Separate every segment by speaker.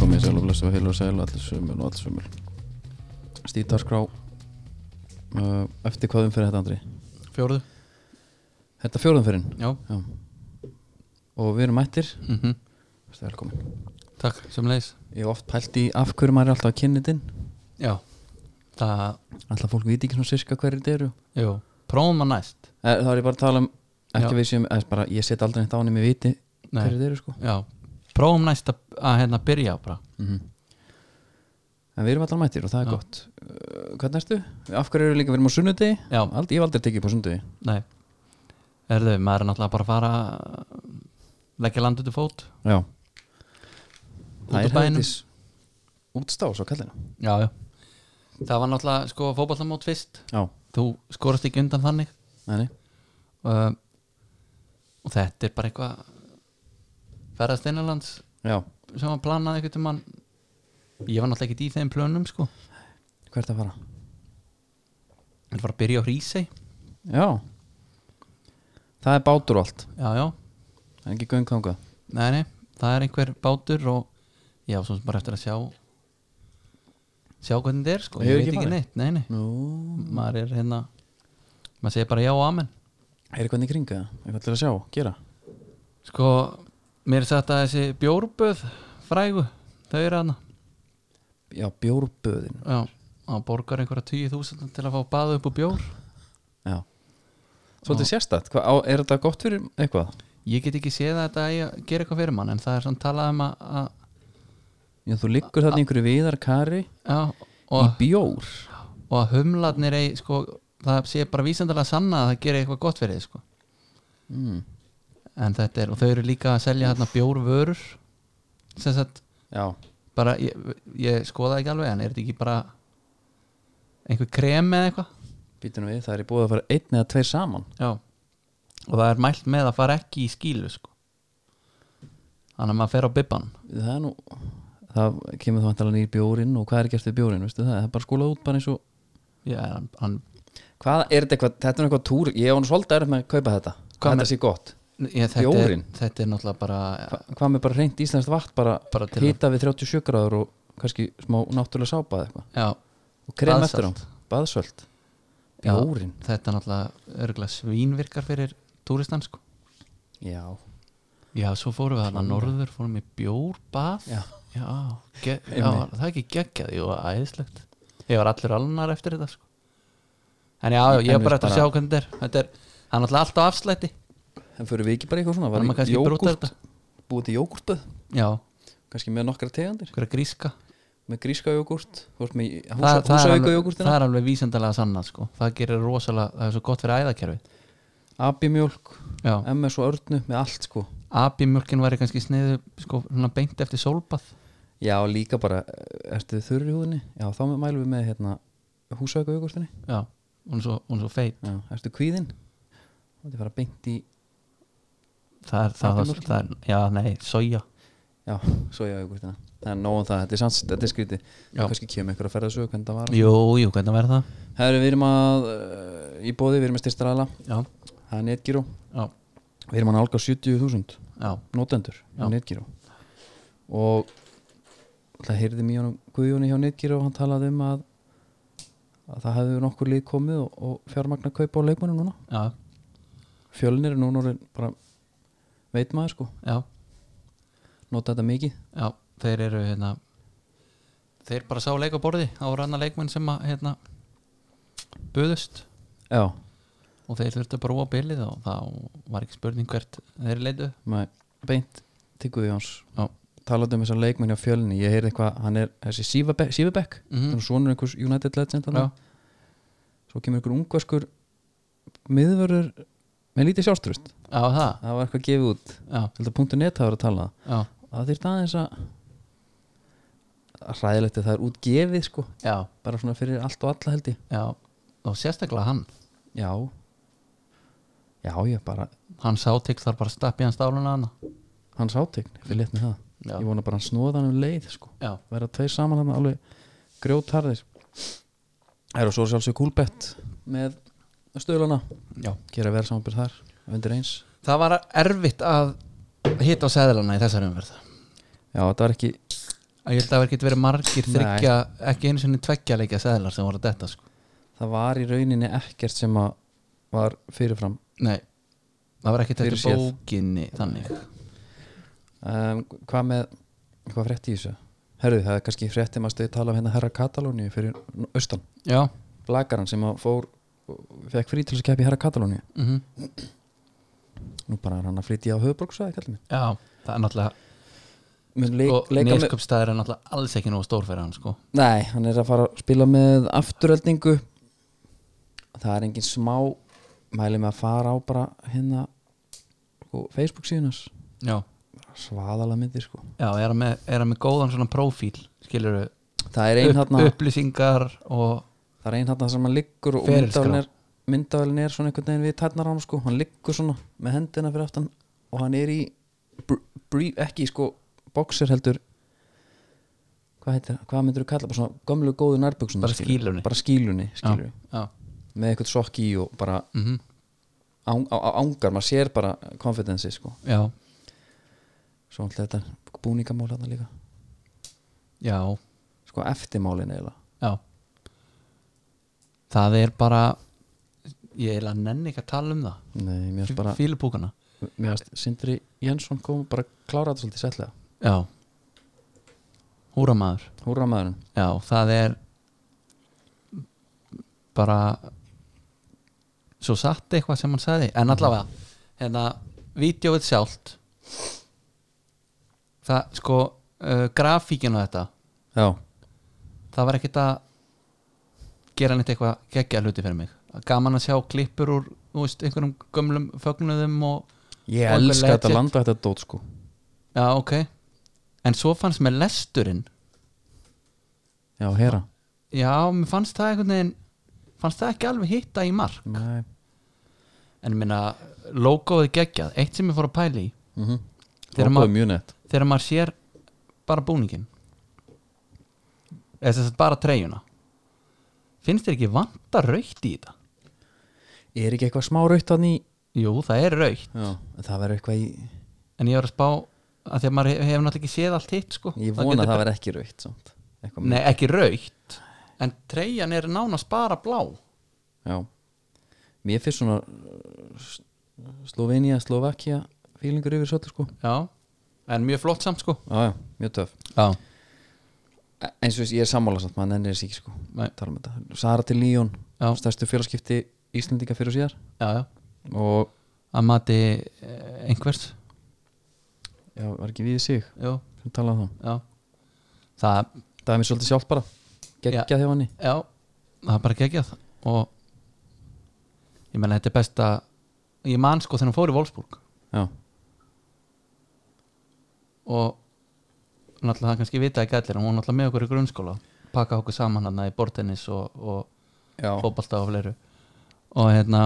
Speaker 1: bless og heil og Eh, sæl allir sömul og allir sömul Stítarskrá uh, Eftir hvað umferð þetta Andri?
Speaker 2: Fjóruðu?
Speaker 1: Þetta er fjórðumferðin
Speaker 2: Já
Speaker 1: Já. Og við erum mættir
Speaker 2: mm
Speaker 1: Vertu velkomin
Speaker 2: Takk, sem leis
Speaker 1: Ég hef oft pælt í af hverju maður er alltaf að kynni þinn
Speaker 2: Já Það,
Speaker 1: Alltaf fólk viti ekki svona sirka hverju þetta eru
Speaker 2: jú, prófum að næst
Speaker 1: Eh, Þá er ég bara að tala um ekki
Speaker 2: Já.
Speaker 1: við sem eða bara, Ég set aldrei neitt á henni með viti
Speaker 2: Nei.
Speaker 1: hverju þetta eru sko
Speaker 2: Já, prófum næst að, að hérna byrja bara
Speaker 1: Mhm. En við erum allar mættir og það er
Speaker 2: Já.
Speaker 1: gott uh, Hvernig ertu? Af hverju eru líka, við erum á sunnudegi
Speaker 2: Já,
Speaker 1: Ald, Ég hef aldrei tekið upp á sunnudegi
Speaker 2: nei Erðu, maður er náttúrulega bara að fara uh, leggja land út í fót
Speaker 1: Já
Speaker 2: Út úr bænum.
Speaker 1: helvítis Útstás á kallinu
Speaker 2: Já, já Það var náttúrulega sko fótballamót fyrst
Speaker 1: Já,
Speaker 2: Þú skorast ekki undan þannig
Speaker 1: neini
Speaker 2: uh, og þetta er bara eitthvað ferðast innanlands
Speaker 1: Já,
Speaker 2: sem að planaði einhvern tímann ég var náttúrulega ekki í þeim plönum sko
Speaker 1: hvert að fara?
Speaker 2: Ég var að byrja á Rísei
Speaker 1: Já Það er bátur og allt
Speaker 2: Já, já,
Speaker 1: Það er ekki gönganga
Speaker 2: nei, nei, það er einhver bátur og ég á svo sem bara eftir að sjá sjá hvernig þetta er sko, ég
Speaker 1: Hefur
Speaker 2: veit
Speaker 1: ekki
Speaker 2: ekki
Speaker 1: farið?
Speaker 2: neitt, nei, nei
Speaker 1: Nú
Speaker 2: maður er hérna, maður segir bara já og amen
Speaker 1: Er eitthvað í kringa það? Eitthvað til að sjá, gera
Speaker 2: sko, mér er sagt að þessi bjórböð frægu, þau eru hana
Speaker 1: Já, bjórböðin
Speaker 2: já, það borgar einhverja tíu þúsund til að fá baða upp úr bjór
Speaker 1: Já Svolítið sérstætt, Hva, á, er þetta gott fyrir eitthvað?
Speaker 2: ég get ekki séð að þetta eigi að gera eitthvað fyrir mann en það er svona talað um að, að
Speaker 1: Já, þú liggur þarna í einhverju viðarkari
Speaker 2: já,
Speaker 1: Í
Speaker 2: og,
Speaker 1: bjór
Speaker 2: og að humlarnir eigi, sko, það sé bara vísindalega sanna að það gera eitthvað gott fyrir þið sko.
Speaker 1: mm.
Speaker 2: en þetta er, og þau eru líka að selja hérna bjórvörur sem sagt,
Speaker 1: Já,
Speaker 2: bara ég, ég skoðaði ekki alveg en er þetta ekki bara einhver krem eða eitthvað
Speaker 1: býtum við, það er í búið að fara einn eða tveir saman
Speaker 2: já, og það er mælt með að fara ekki í skílu sko þannig að maður fer á bibban
Speaker 1: það er nú það kemur þá vantalega nýr bjórin og hvað er gert við bjórin, veistu það, það er bara skólað út bara eins og,
Speaker 2: já, hann, hann,
Speaker 1: hvað er þetta eitthvað, þetta er eitthvað túr ég er hún svolítið erf með að kaupa þetta hvað
Speaker 2: Hvað
Speaker 1: þetta sé gott,
Speaker 2: ég, þetta, er,
Speaker 1: Bjórinn?
Speaker 2: þetta er náttúrulega bara
Speaker 1: Hva, hvað með bara reynd íslenskt vatn bara,
Speaker 2: Bara til
Speaker 1: hita við 37 gráður og kannski smá náttúrulega sápa eða eitthvað
Speaker 2: já,
Speaker 1: og krem
Speaker 2: Baðsalt.
Speaker 1: eftir hann, baðsöld
Speaker 2: Já.
Speaker 1: bjórin,
Speaker 2: þetta er náttúrulega örgulega svínvirkar fyrir túristann sko
Speaker 1: já,
Speaker 2: já, svo fórum við þarna norður, fórum við bjórbað
Speaker 1: Já.
Speaker 2: já, ge- já
Speaker 1: Einmitt.
Speaker 2: það er ekki geggjað, jú, æðislegt ég var allur alnar eftir þetta sko en já, já,
Speaker 1: En
Speaker 2: ég er
Speaker 1: við
Speaker 2: bara eftir að
Speaker 1: bara-
Speaker 2: sjá hvernig þetta er þetta er, það er náttúrulega alltaf afslætti
Speaker 1: en fyrir við ekki bara eitthvað svona
Speaker 2: Þannig maður
Speaker 1: var í
Speaker 2: kannski brútar
Speaker 1: jógurt,
Speaker 2: þetta.
Speaker 1: búið til jógurtböð
Speaker 2: já,
Speaker 1: kannski með nokkra tegandir,
Speaker 2: hverja gríska
Speaker 1: með gríska jógurt þú veist með húsa-
Speaker 2: það, það, er
Speaker 1: húsavíka
Speaker 2: alveg, það
Speaker 1: jógurtina
Speaker 2: er alveg vísendalega sanna sko það gerir rosalega, það er svo gott fyrir æðakerfið
Speaker 1: abimjólk,
Speaker 2: já,
Speaker 1: MS og örnu með allt sko
Speaker 2: abimjölkin væri kannski sniðu sko, svona beint eftir sólbað
Speaker 1: Já, líka bara, eh, ertu þurr í húðinni? Já, þá mælum við með hérna, húsaukauðgórstinni.
Speaker 2: já, hún er svo, hún er svo feit
Speaker 1: Já, ertu kvíðinn? Þá þetta fara beint í,
Speaker 2: það er, það, það,
Speaker 1: Apelmjólkin?
Speaker 2: það er, já, nei, soja
Speaker 1: já, sojaugórstina. Það er nóg um það, þetta er sanns, þetta er skrítið.
Speaker 2: Já.
Speaker 1: Já. Kanski kemur ykkur að ferða þessu, hvernig það var.
Speaker 2: jú, jú, hvernig verður það
Speaker 1: Herru, við erum að, uh, í bóði, við erum að styrsta ræla,
Speaker 2: já,
Speaker 1: það er netgíró.
Speaker 2: já,
Speaker 1: Við erum að nálga 70.000
Speaker 2: já,
Speaker 1: notendur á
Speaker 2: Já.
Speaker 1: netgíró. Og það heyrði mjög honum Guðjóni hjá netgíró, hann talaði um að, að það hefðu nokkur lið komið og, og fjármagna kaupa á leikmannu núna.
Speaker 2: já,
Speaker 1: fjölnir er núna orðinn bara veit maður sko,
Speaker 2: já,
Speaker 1: nota þetta mikið
Speaker 2: já þeir eru hérna þeir bara sá leik á borði á ranna leikmenn sem að hérna buðust
Speaker 1: já,
Speaker 2: og þeir þurftu að brúa bilið og það var ekki spurning hvert þeir leitu
Speaker 1: maður beint til Guðjóns
Speaker 2: Já.
Speaker 1: talandi um þessar leikmenn hjá fjölni ég heyrði eitthvað, hann er þessi Sivabek Sivabek,
Speaker 2: Mhm.
Speaker 1: þannig svonur einhvers United Legend
Speaker 2: já,
Speaker 1: hann. svo kemur einhver ungvaskur miðvörður með lítið sjálfströst
Speaker 2: já, það
Speaker 1: það var eitthvað gefið út,
Speaker 2: já,
Speaker 1: held að punktu net hafa verið að tala um
Speaker 2: já,
Speaker 1: það þýrt aðeins að að hræðilegt að það er útgefið sko,
Speaker 2: já,
Speaker 1: bara svona fyrir allt og alla held ég
Speaker 2: já og sérstaklega hann
Speaker 1: já já, ég bara
Speaker 2: hann sá til þar bara stapp í hans stáluna hana
Speaker 1: hans átegn, við létt með það
Speaker 2: já,
Speaker 1: ég vona bara að hann snóða hann um leið sko.
Speaker 2: já,
Speaker 1: vera tveir saman hann alveg grjótharðir er og svo er sjálfsög kúlbett með stöðlana
Speaker 2: já
Speaker 1: gera verða samanbyrð þar, undir eins
Speaker 2: það var erfitt að hitta á seðlana í þessari umverð
Speaker 1: já, þetta var ekki
Speaker 2: að ég held að það geti verið margir
Speaker 1: Nei.
Speaker 2: þryggja, ekki einu sinni tveggja leikja seðlar sem voru að detta sko.
Speaker 1: það var í rauninni ekkert sem að var fyrirfram
Speaker 2: nei, það var ekki þetta
Speaker 1: Fyrirséð.
Speaker 2: bókinni þannig
Speaker 1: um, hvað með, hvað frétti í þessu? Herðu, það er kannski fréttim að stuði tala um hérna herra Katalóni fyrir n- austan
Speaker 2: já,
Speaker 1: blakaran sem að fór fekk frí til þess að keppa í herra Katalóni
Speaker 2: mm
Speaker 1: nú bara er hann að flytja á höfuborgsvæði kallum
Speaker 2: já það er náttúrulega
Speaker 1: minn leik,
Speaker 2: sko,
Speaker 1: leika með,
Speaker 2: neskupstæður er náttúrulega alls ekki nógu stór fyrir hann sko.
Speaker 1: nei, hann er að fara að spila með afturöldingu það er engin smá mæli með að fara á bara hérna sko, Facebook síðunas
Speaker 2: já,
Speaker 1: svaðala myndir sko
Speaker 2: já, er hann með, er hann með góðan svona prófíl skilur
Speaker 1: það er ein
Speaker 2: upp,
Speaker 1: hérna
Speaker 2: upplýsingar og
Speaker 1: það er einn þarna sem hann liggur og
Speaker 2: Ferilskrá.
Speaker 1: myndavælin er, myndavælin er svona einhvern veginn við tærnar á hann sko, hann liggur svona með hendina fyrir aftan og hann er í br- brí- ekki sko boxer heldur hvað heitir, það? hvað myndir þú kalla bara svona gömlu góðu nærbuksun
Speaker 2: bara skílunni
Speaker 1: bara skílunni skilur,
Speaker 2: já,
Speaker 1: með eitthvað sokk í og bara
Speaker 2: mm
Speaker 1: ang, á, á, ángar, maður sér bara konfidensi sko,
Speaker 2: já,
Speaker 1: svo alltaf þetta búningamál hann líka,
Speaker 2: já,
Speaker 1: sko eftirmálin eiginlega
Speaker 2: já það er bara ég er að nenni ekki að tala um það
Speaker 1: nei, mér finnst bara,
Speaker 2: fílupúkana
Speaker 1: mér finnst Sindri Jensson kom og bara klára þetta svolítið settlega,
Speaker 2: já húramaður
Speaker 1: húra maðurinn
Speaker 2: já, það er bara svo satt eitthvað sem hann sagði en allavega, hérna vídeoið sjálft það sko uh, grafíkin og þetta
Speaker 1: já,
Speaker 2: það var ekkert að gera neitt eitthvað geggja hluti fyrir mig gaman að sjá klippur úr þú veist, einhverjum gömlum fögnuðum og
Speaker 1: Ég
Speaker 2: Og alveg
Speaker 1: elska þetta
Speaker 2: legit.
Speaker 1: landa þetta dót sko
Speaker 2: já, ok en svo fannst mér lesturinn
Speaker 1: Já, hera
Speaker 2: Já, mér fannst það einhvern veginn fannst það ekki alveg hitta í mark
Speaker 1: Nei.
Speaker 2: en ég minna, logoði geggjað eitt sem ég fór að pæla í
Speaker 1: Mm -hmm.
Speaker 2: Þegar maður-
Speaker 1: mjög nett
Speaker 2: þegar maður sér bara búningin eða þess að bara treyjuna finnst þér ekki vanta raukt í þetta?
Speaker 1: Er ekki eitthvað smá rautt hann í
Speaker 2: Jú, það er raukt
Speaker 1: Já. Það verður eitthvað í
Speaker 2: en ég var að spá að því að maður he- hefur náttúrulega ekki séð allt hitt sko.
Speaker 1: Ég vona
Speaker 2: getur
Speaker 1: að það
Speaker 2: bara-
Speaker 1: verður ekki rautt samt. Eitthvað
Speaker 2: Nei, ekki raukt en treyjan er nánast bara blá
Speaker 1: með- Já Mér finnst svona uh, S- Slovenia, Slovakia fílingur yfir svolítið sko
Speaker 2: Já, en mjög flott samt sko
Speaker 1: Já, já, mjög töf
Speaker 2: Já,
Speaker 1: E, Eins og þess, ég er sammála samt, maður nennir þess ekki sko
Speaker 2: Nei.
Speaker 1: Tala um þetta Sara til Líón
Speaker 2: Já.
Speaker 1: Stærstu félagskipti Íslendinga fyrir og síðar
Speaker 2: já, já
Speaker 1: Og
Speaker 2: að mati eh, einhvers
Speaker 1: Já, var ekki við í sig
Speaker 2: Jú,
Speaker 1: sem talaði um það
Speaker 2: já það,
Speaker 1: Það er mér svolítið sjálf bara Gekkja hjá hann
Speaker 2: já, það er bara geggjað og ég menna þetta er besta ég man sko þegar hann fór í Wolfsburg
Speaker 1: Já,
Speaker 2: og náttúrulega það kannski vita ekki allir en hún var náttúrulega með okkur í grunnskóla pakka okkur saman hann í bortennis og, og
Speaker 1: já.
Speaker 2: fótbalta og fleiru og hérna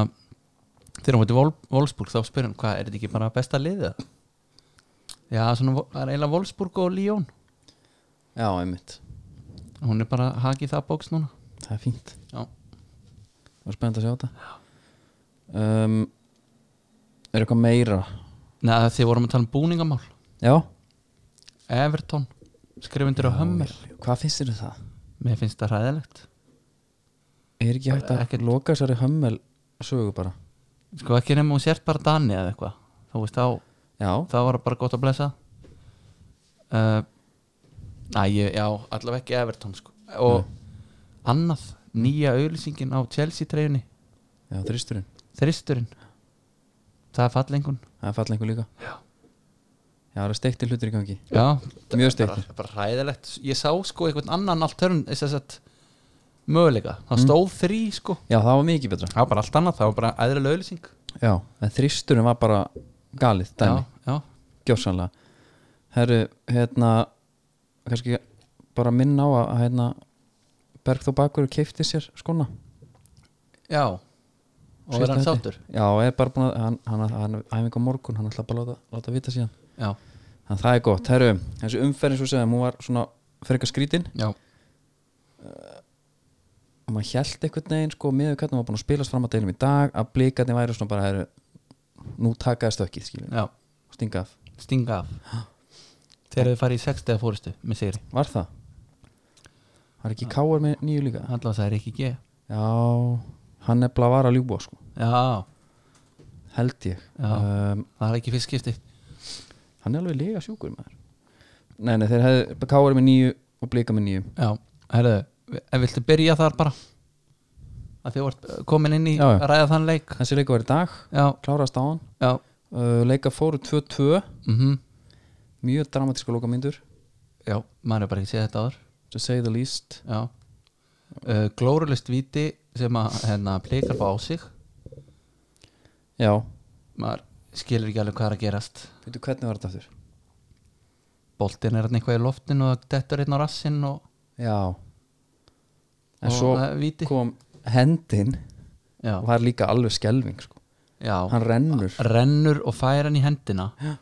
Speaker 2: þegar hún var í Vol Wolfsburg þá spyrir hann hvað, er þetta ekki bara besta liðið? Já, svona, vo- það er eiginlega Wolfsburg og Lyon
Speaker 1: Já, einmitt,
Speaker 2: hún er bara hakið það bóks núna
Speaker 1: það er fínt
Speaker 2: Já.
Speaker 1: Það er spennt að sjá þetta um, Er eitthvað meira?
Speaker 2: Nei, þið vorum að tala um búningamál
Speaker 1: Já
Speaker 2: Everton, skrifundur á hömmel
Speaker 1: Hvað finnst þér um það?
Speaker 2: Mér finnst það hræðilegt
Speaker 1: Er ekki hægt að
Speaker 2: Ekkert.
Speaker 1: loka þessari hömmel sögu bara?
Speaker 2: Sko ekki nema hún sért bara Dani eða eitthvað Þú veist þá,
Speaker 1: Já,
Speaker 2: þá var það bara gott að blessa uh, Næ, ég, já, allavega ekki Everton sko. Og annað, nýja auðlýsingin á Chelsea treyjunni
Speaker 1: já, þristurinn
Speaker 2: Þristurinn Það er fallengun
Speaker 1: Það er falla einhver líka Já Já, það eru steikti hlutir í gangi
Speaker 2: Já,
Speaker 1: Mjög
Speaker 2: bara,
Speaker 1: steiktir
Speaker 2: bara hræðilegt Ég sá sko einhvern annan altern þess að möguleika, það stóð þrý sko
Speaker 1: Já, það var mikið betra
Speaker 2: Það var Mm. bara allt annað, það var bara æðrilega auðlýsing
Speaker 1: Já, en þristurinn var bara galið dæmi,
Speaker 2: já, já,
Speaker 1: gjósanlega Herru, hérna kannski bara minna á að hérna Bergþó Bakur keifti sér skona
Speaker 2: já Og
Speaker 1: Síðasta
Speaker 2: verða hann
Speaker 1: hluti.
Speaker 2: sáttur
Speaker 1: Já, er bara búin að hann, hann, hann æfinga morgun, hann ætla bara að láta, láta vita síðan
Speaker 2: Já,
Speaker 1: Þannig að það er gott, herru, þessi umferðin svo sem hún var svona frekar skrítin
Speaker 2: já,
Speaker 1: og maður hjælt einhvern veginn sko með hvernig hann var búin að spilast fram að deilum í dag að blikarnir væri svona bara, herru nú takaði stökkið, skiljum,
Speaker 2: já
Speaker 1: stinga af
Speaker 2: Stinga af þegar þau farið í 6 eða fórustu með sigri
Speaker 1: Var það? Var ekki káar með nýju líka?
Speaker 2: allavega það er ekki G
Speaker 1: Já, hann nefnilega var að ljúbúa sko
Speaker 2: já,
Speaker 1: Held ég
Speaker 2: Já.
Speaker 1: um,
Speaker 2: það er ekki fyrst skipti
Speaker 1: Hann er alveg lega sjúkur maður Nei, nei, þeir hefði káar með nýju og blika með nýju
Speaker 2: já, herðu, en viltu byrja þar bara að þið vart komin inn í
Speaker 1: Já, já.
Speaker 2: að ræða þann leik
Speaker 1: Þessi leikur var í dag,
Speaker 2: já,
Speaker 1: klárast á hann
Speaker 2: já,
Speaker 1: uh, Leika fóru 2-2
Speaker 2: mhm
Speaker 1: Mjög dramatíska lokamyndur
Speaker 2: já, maður er bara ekki séð þetta áður
Speaker 1: To say the least
Speaker 2: já uh, glórulist viti sem að hérna plikar fá á sig
Speaker 1: Já,
Speaker 2: maður skilur ekki alveg hvað er að gerast
Speaker 1: veitu hvernig var þetta aftur?
Speaker 2: boltin er hann eitthvað í loftin og dettur einn á rassinn og,
Speaker 1: Já En
Speaker 2: og
Speaker 1: svo
Speaker 2: það er víti
Speaker 1: kom hendin
Speaker 2: já,
Speaker 1: og það er líka alveg skelving sko.
Speaker 2: já,
Speaker 1: Hann rennur
Speaker 2: rennur og fær hann í hendina
Speaker 1: Já.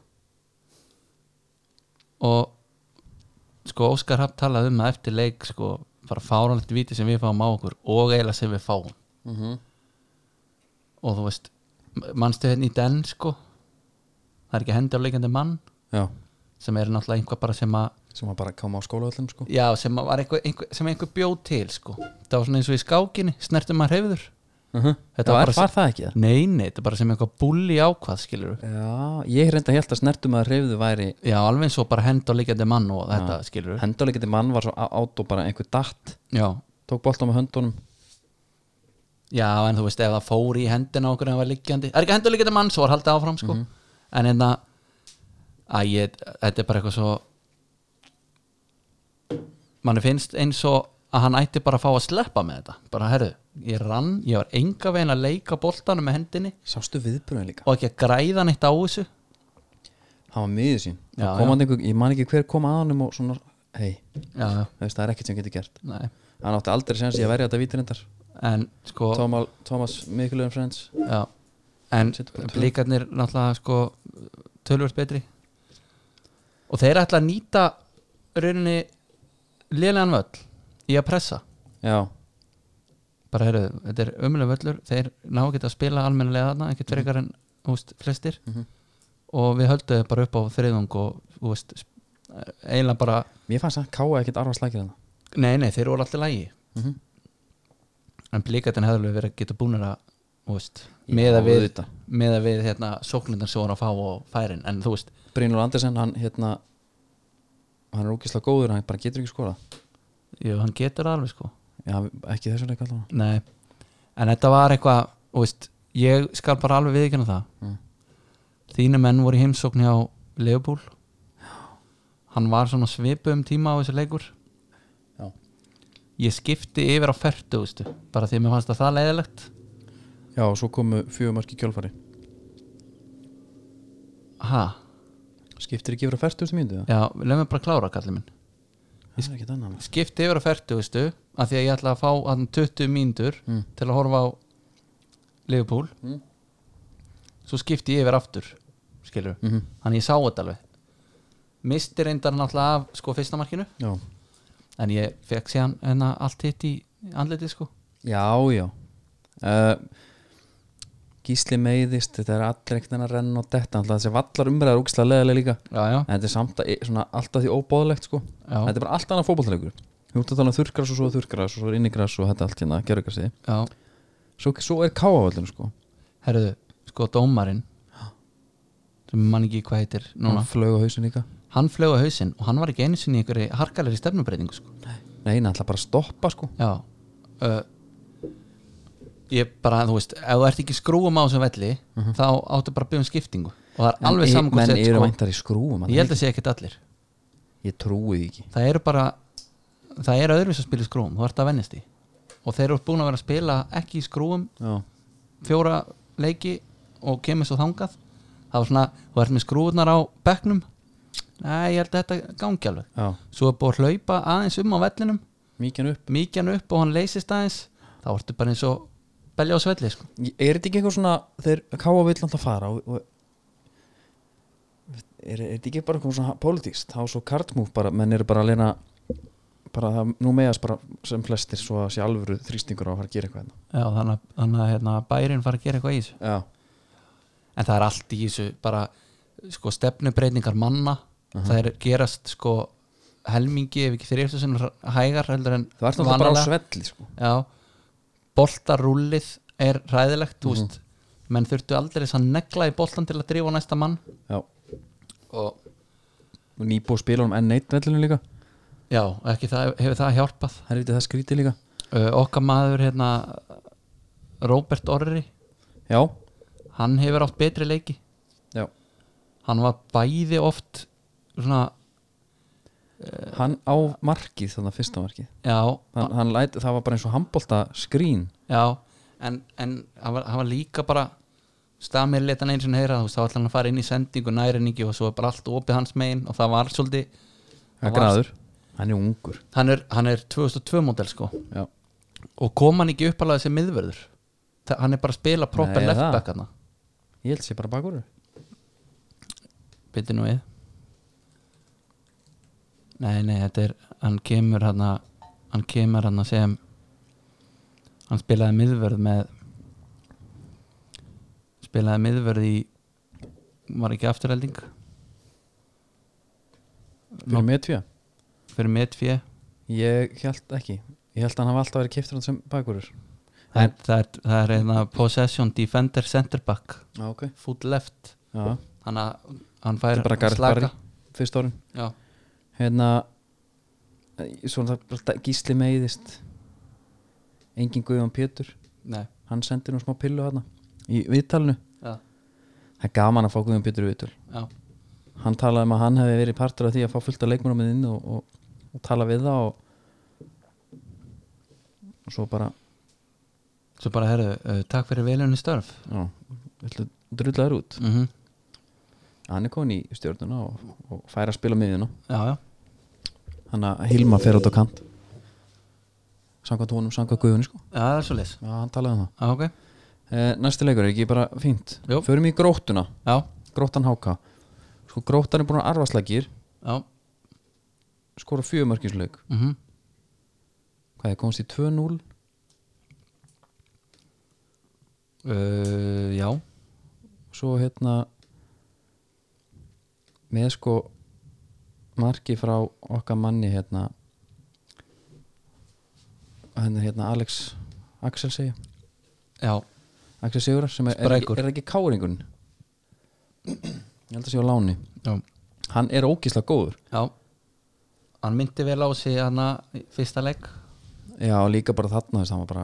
Speaker 2: og sko Óskar Hafn talaði um að eftir leik sko bara fáranlegt viti sem við fáum á okkur og eiginlega sem við fáum
Speaker 1: mm -hmm.
Speaker 2: og þú veist, m- manstu hérna í den sko það er ekki hendi á leikandi mann
Speaker 1: Já,
Speaker 2: sem er náttúrulega einhvað bara sem að
Speaker 1: sem var bara að koma á skólaöllum sko.
Speaker 2: já, sem að var einhver, einhver, sem einhver bjóð til sko það var svona eins og í skákinni, snertum maður hefur Þetta
Speaker 1: Mhm. Já,
Speaker 2: var
Speaker 1: er,
Speaker 2: bara-
Speaker 1: var það ekki það?
Speaker 2: nei, nei, þetta er bara sem eitthvað búli ákvað skilur
Speaker 1: Já, ég reynda að held að snertum að reyfðu væri
Speaker 2: já, alveg eins og bara hendi á leikandi mann og þetta skilur
Speaker 1: hendalegiti mann var svo á- át og bara einhver datt
Speaker 2: já,
Speaker 1: tók bolta með höndunum
Speaker 2: Já, en þú veist, ef það fór í hendina á okkur en það var liggjandi, er ekki hendur liggjandi mann svo var haldið áfram, sko en hérna, að ég, þetta er bara eitthvað svo manni finnst eins og að hann ætti bara að fá að sleppa með þetta bara, herru, ég rann, ég var enga veginn að leika boltanum með hendinni
Speaker 1: Sástu viðbröðin líka?
Speaker 2: og ekki að græða neitt á þessu
Speaker 1: Hann var miður sín já,
Speaker 2: Já,
Speaker 1: já. Einhver, Ég man ekki hver kom að honum og svona hei,
Speaker 2: Já, já,
Speaker 1: þú veist, það er ekkert sem getur gert
Speaker 2: nei
Speaker 1: Hann átti aldrei sens í að verja þetta vítirindar
Speaker 2: en sko,
Speaker 1: Thomas, Thomas Mikkelöfn Friends
Speaker 2: já en
Speaker 1: Sitt bara tvö.
Speaker 2: blíkarnir náttúrulega sko tölvöld betri og þeir ætla að nýta rauninni lélegan völl í að pressa
Speaker 1: Já,
Speaker 2: bara heyrðu, þetta er ömulega völlur þeir ná ekki að spila almennilega þarna ekki frekar en húst flestir
Speaker 1: Mhm.
Speaker 2: og við höldum þeir bara upp á þriðung og húst, eiginlega bara
Speaker 1: mér fannst að káa ekkert hérna. arfa slækir hann
Speaker 2: nei, nei, þeir voru alltaf lægi
Speaker 1: mm -hmm.
Speaker 2: en blíkarnir hefðu alveg verið að geta búnir að húst, meða við
Speaker 1: þetta
Speaker 2: meða við hérna sóknindar sem voru að fá og færin, en þú veist
Speaker 1: Brynur Andersen, hann hérna hann er ógislega góður, hann bara getur ekki skorað
Speaker 2: Jú, hann getur það alveg sko
Speaker 1: Já, ekki þessu leik allavega
Speaker 2: Nei. En þetta var eitthvað þú veist, Ég skal bara alveg viðkynna það
Speaker 1: Mm.
Speaker 2: Þínu menn voru í heimsókn hjá Leopold Hann var svona svipu um tíma á þessu leikur
Speaker 1: Já.
Speaker 2: Ég skipti yfir á fertu veistu, Bara því að mér fannst að það leiðilegt
Speaker 1: Já, og svo komu fjögur mörki kjölfari
Speaker 2: Ha,
Speaker 1: Skiptir ekki yfir að ferstu úr mínútu eða?
Speaker 2: já, lögum við bara að klára kallið minn
Speaker 1: Það er ekki þannig
Speaker 2: Skipti yfir á fertu veistu, að Því að ég ætla að fá hann 20 mínútur
Speaker 1: mm.
Speaker 2: Til að horfa á Leopold
Speaker 1: Mm.
Speaker 2: Svo skipti ég yfir aftur Skilur
Speaker 1: mm -hmm.
Speaker 2: þannig ég sá þetta alveg misti reyndar náttúrulega af sko fyrsta markinu
Speaker 1: Já,
Speaker 2: en ég fekk síðan hérna allt hitt í andliti sko
Speaker 1: já, já. Uh, Gísli meiðist þetta er allir ekkert en að renna og detta alltaf þessi vallar umræðar ógislega leðilega líka
Speaker 2: já já,
Speaker 1: en þetta er samt að, svona, alltaf því óbóðlegt sko.
Speaker 2: já,
Speaker 1: þetta er bara allt annað fótballtalegur Þú ert að tala um þurrgras og svo þurrgras og svo er innigras og þetta allt hérna, gerðugrasi
Speaker 2: já.
Speaker 1: Svo, svo er káavöldin sko
Speaker 2: herruðu, sko dómarinn sem ég man ekki hvað heitir núna,
Speaker 1: Hann flög á hausin líka
Speaker 2: hann flög á hausinn og hann var ekki einu sinni í einhverju harkalegri stefnubreitingu sko
Speaker 1: Nei, hann ætla bara að stoppa sko
Speaker 2: já uh, ég bara, þú veist, ef þú ert ekki skrúum á þessum velli, þá áttu bara að byggja um skiptingu og það er alveg
Speaker 1: Mhm. En-
Speaker 2: saman hvað
Speaker 1: Menn
Speaker 2: sett
Speaker 1: eru
Speaker 2: sko
Speaker 1: væntar í skrúum
Speaker 2: ég held að sé ekkert allir
Speaker 1: ég trúi því ekki
Speaker 2: það eru bara það eru öðruvis að spila í skrúum, þú ert að vennist í og þeir eru búin að vera að spila ekki í skrúum
Speaker 1: Já,
Speaker 2: fjóra leiki og kemur svo þangað það var svona, þú ert með skrúurnar á bekknum nei, ég held að þetta gangi alveg
Speaker 1: já,
Speaker 2: svo er búin að hlaupa aðeins um á vellinum
Speaker 1: mikið upp
Speaker 2: mikjan upp og hann leysist aðeins þá ertu bara eins og belja á svelli sko.
Speaker 1: Er þetta ekki eitthvað svona þeir káa vill alltaf fara og, og er, er þetta ekki bara eitthvað svona pólitíkst þá er svo kartmúf bara, menn eru bara að leina bara það, nú meðast bara sem flestir svo að sé alvöru þrýstingur á að fara að gera eitthvað hérna.
Speaker 2: já, þannig að- þannig að hérna, bærin fara að gera eitthvað í þessu
Speaker 1: Já,
Speaker 2: en það er allt í þessu bara sko stefnubreitingar manna
Speaker 1: Mhm.
Speaker 2: það er gerast sko helmingi ef ekki þrjast sem hægar heldur en
Speaker 1: það var alltaf bara á
Speaker 2: vanalega.
Speaker 1: svelli sko.
Speaker 2: Já, boltarúllið er ræðilegt,
Speaker 1: Mhm.
Speaker 2: þú veist menn þurftu aldrei að negla í boltan til að drífa á næsta mann
Speaker 1: já.
Speaker 2: og
Speaker 1: og nýbúið spilunum N1 vellinu líka
Speaker 2: já, ekki það hefur það hjálpað
Speaker 1: herrið það skríti líka
Speaker 2: uh, okkar maður hérna Robert Orri
Speaker 1: já,
Speaker 2: hann hefur átt betri leiki
Speaker 1: já.
Speaker 2: hann var bæði oft svona,
Speaker 1: hann á markið þannig að fyrsta markið
Speaker 2: já,
Speaker 1: hann, hann læt, það var bara eins og handbolta skrín
Speaker 2: Já, en, en hann, var, hann var líka bara stamir leta hann einu sinni heyra þú veist, þá ætla hann að fara inn í sendingu, nærinningi og svo er bara allt opið hans megin og það var svolítið
Speaker 1: hann,
Speaker 2: var-
Speaker 1: graður, hann er ungur
Speaker 2: hann er, hann er 2002 model sko
Speaker 1: já.
Speaker 2: og kom hann ekki upp alveg sem miðverður Þa, hann er bara að spila proper
Speaker 1: Nei,
Speaker 2: left
Speaker 1: það.
Speaker 2: back hann
Speaker 1: ég held sér bara bakur
Speaker 2: byrði nú við Nei, nei, þetta er hann kemur hann hann kemur hann sem hann spilaði miðvörð með spilaði miðvörð í var ekki afturhelding
Speaker 1: fyrir
Speaker 2: Nó.
Speaker 1: með tvíja
Speaker 2: fyrir metfjö
Speaker 1: ég held ekki ég held að hann hafa alltaf verið kiptur sem bakurur
Speaker 2: það, er- það er, það er hérna possession defender center back
Speaker 1: já, ok
Speaker 2: foot left
Speaker 1: já.
Speaker 2: hann, að- hann
Speaker 1: Þetta
Speaker 2: fær
Speaker 1: er bara Gareth Barry
Speaker 2: slaka
Speaker 1: fyrst orðin
Speaker 2: já,
Speaker 1: hérna eh, svona það bara gísli meiðist engin Guðjón Pétur
Speaker 2: nei,
Speaker 1: hann sendi nú smá pillu hérna í viðtalinu
Speaker 2: já,
Speaker 1: það er gaman að fá Guðjón Pétur í viðtal
Speaker 2: já,
Speaker 1: hann talaði um að hann hefði verið partur af því að fá fullt af leikmennum með inn og, og, og tala við það og, og svo bara
Speaker 2: svo bara herðu uh, takk fyrir velunni störf
Speaker 1: já, viltu drullaður út
Speaker 2: mm
Speaker 1: hann er komin í stjórnuna og, og fær að spila miðjuna
Speaker 2: já, já
Speaker 1: hann að Hilma fer út á kant samkvæmt honum, samkvæmt Guðjóni sko
Speaker 2: Já, það er svo leis
Speaker 1: já, hann talaði um það
Speaker 2: Já, ok
Speaker 1: Eh, Næsti leikur er ekki bara fínt
Speaker 2: Jú.
Speaker 1: Förum í gróttuna,
Speaker 2: Já,
Speaker 1: gróttan háka Sko gróttan er búin að arfaslækir
Speaker 2: já
Speaker 1: Skora fjöðumörkinsleik
Speaker 2: mm
Speaker 1: Hvað er, komst í 2-0
Speaker 2: uh, Já,
Speaker 1: Svo hérna Með sko Marki frá okkar manni hérna Hérna, hérna Alex Axel segja
Speaker 2: já
Speaker 1: Axel Sigurar sem er, er, ekki,
Speaker 2: Sprækur.
Speaker 1: er ekki káringun Ég held að segja á láni
Speaker 2: Já,
Speaker 1: Hann er ógislega góður
Speaker 2: já. Hann myndi vel á sig hana í fyrsta leik
Speaker 1: Já, líka bara þarna, þú veist, hann var bara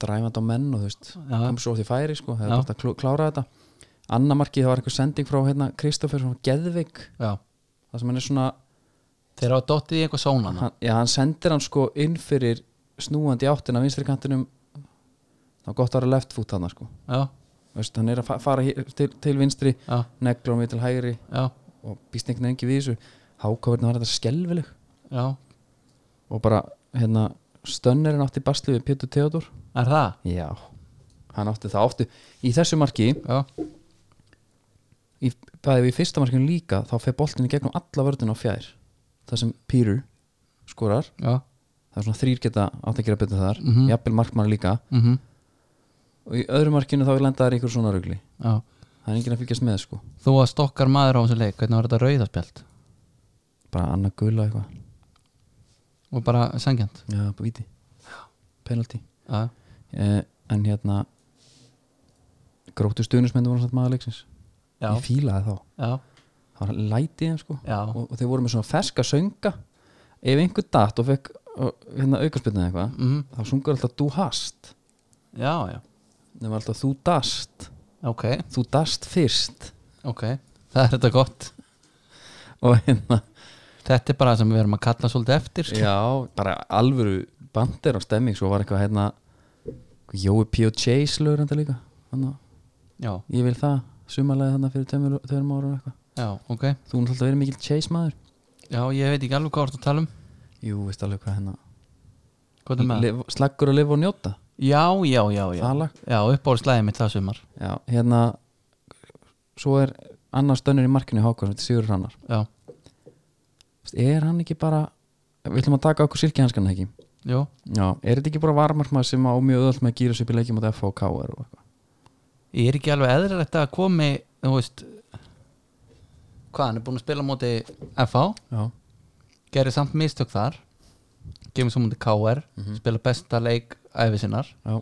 Speaker 1: dræfand á menn og þú veist
Speaker 2: Já.
Speaker 1: kom svo oft í færi, sko,
Speaker 2: Já.
Speaker 1: hefði bara klú, klára þetta Anna markið, það var einhver sending frá hérna Kristoffer, svona Geðvik
Speaker 2: Já
Speaker 1: það sem hann er svona,
Speaker 2: Þeir hafa dottið í eitthvað sónan
Speaker 1: hann, já, hann sendir hann sko inn fyrir snúandi í áttina vinstri kantinum þá gott að vera left foot hann, sko
Speaker 2: Já,
Speaker 1: Þú veist, hann er að fa fara hér, til, til vinstri
Speaker 2: já,
Speaker 1: neglur mig til hægri
Speaker 2: já,
Speaker 1: og býst einhvern veginn ekki við þessu hákáverðin var þetta skelfileg
Speaker 2: já
Speaker 1: og bara, hérna, stönnerinn átti basli við Pétur Theodor
Speaker 2: Er það?
Speaker 1: Já, hann átti það áttu Í þessu marki,
Speaker 2: Já,
Speaker 1: í, bæði í fyrsta markinu líka þá fer boltin í gegnum alla vörðin á fjær það sem Pírur skorar
Speaker 2: já
Speaker 1: það er svona þrýr geta átt að gera betur þar
Speaker 2: Mhm.
Speaker 1: jafnvel markmann líka
Speaker 2: mm
Speaker 1: og í öðru markinu þá lenda þær í ykkur svona rugli
Speaker 2: Já
Speaker 1: það er enginn að fylgjast með sko
Speaker 2: Þú að stokkar maður á þessu leik Hvernig var þetta rauðaspjald?
Speaker 1: bara annað gula eitthvað
Speaker 2: Og bara sangjant
Speaker 1: Já, bara víti penalty
Speaker 2: Já,
Speaker 1: eh, en hérna gróttu stuðnismenn voru satt maður leiksins
Speaker 2: já,
Speaker 1: ég fílaði þá
Speaker 2: já,
Speaker 1: það var lætið þeim sko
Speaker 2: já,
Speaker 1: og, og þeir voru með svona ferska sönga ef einhver datt og fekk uh, hérna aukarspilna eitthvað
Speaker 2: mm,
Speaker 1: þá sungur alltaf þú hast
Speaker 2: já, já
Speaker 1: nema alltaf þú dast
Speaker 2: Ok,
Speaker 1: þú dast fyrst
Speaker 2: ok Það er þetta gott
Speaker 1: og hérna
Speaker 2: Þetta er bara það sem við erum að kalla svolítið eftir sko.
Speaker 1: já, bara alvöru bandir og stemming svo var eitthvað hérna eitthvað Jói P.O. Chase lögur þetta líka þannig
Speaker 2: já,
Speaker 1: ég vil það sumarlega þannig fyrir tveimur tveimur árum eitthvað
Speaker 2: já, ok
Speaker 1: þú er alltaf verið mikill Chase maður
Speaker 2: Já, ég veit ekki alveg hvað þú ert að tala um
Speaker 1: jú, veist alveg hvað hérna
Speaker 2: Hvað er með?
Speaker 1: Lif, slaggur að lifa og njóta
Speaker 2: já, já, já, já
Speaker 1: það lag
Speaker 2: Já, uppáhaldslæðið mitt það sumar
Speaker 1: Já, hérna svo er annar stönnur í markinu Hákon, þetta er Sigur Rannar
Speaker 2: Já,
Speaker 1: er hann ekki bara, við ætlum að taka okkur silkihanskana ekki
Speaker 2: jú,
Speaker 1: Já, er þetta ekki bara varmarkmaður sem á mjög öðvöld með að gýra sig upp í leikjum á FH og KR og eitthvað
Speaker 2: ég er ekki alveg eðrilegt að komi, þú veist hvað hann er búin að spila á móti FH,
Speaker 1: já,
Speaker 2: gerir samt mistök þar kemur svo móti KR
Speaker 1: Mhm.
Speaker 2: spila besta leik æfi sinnar
Speaker 1: já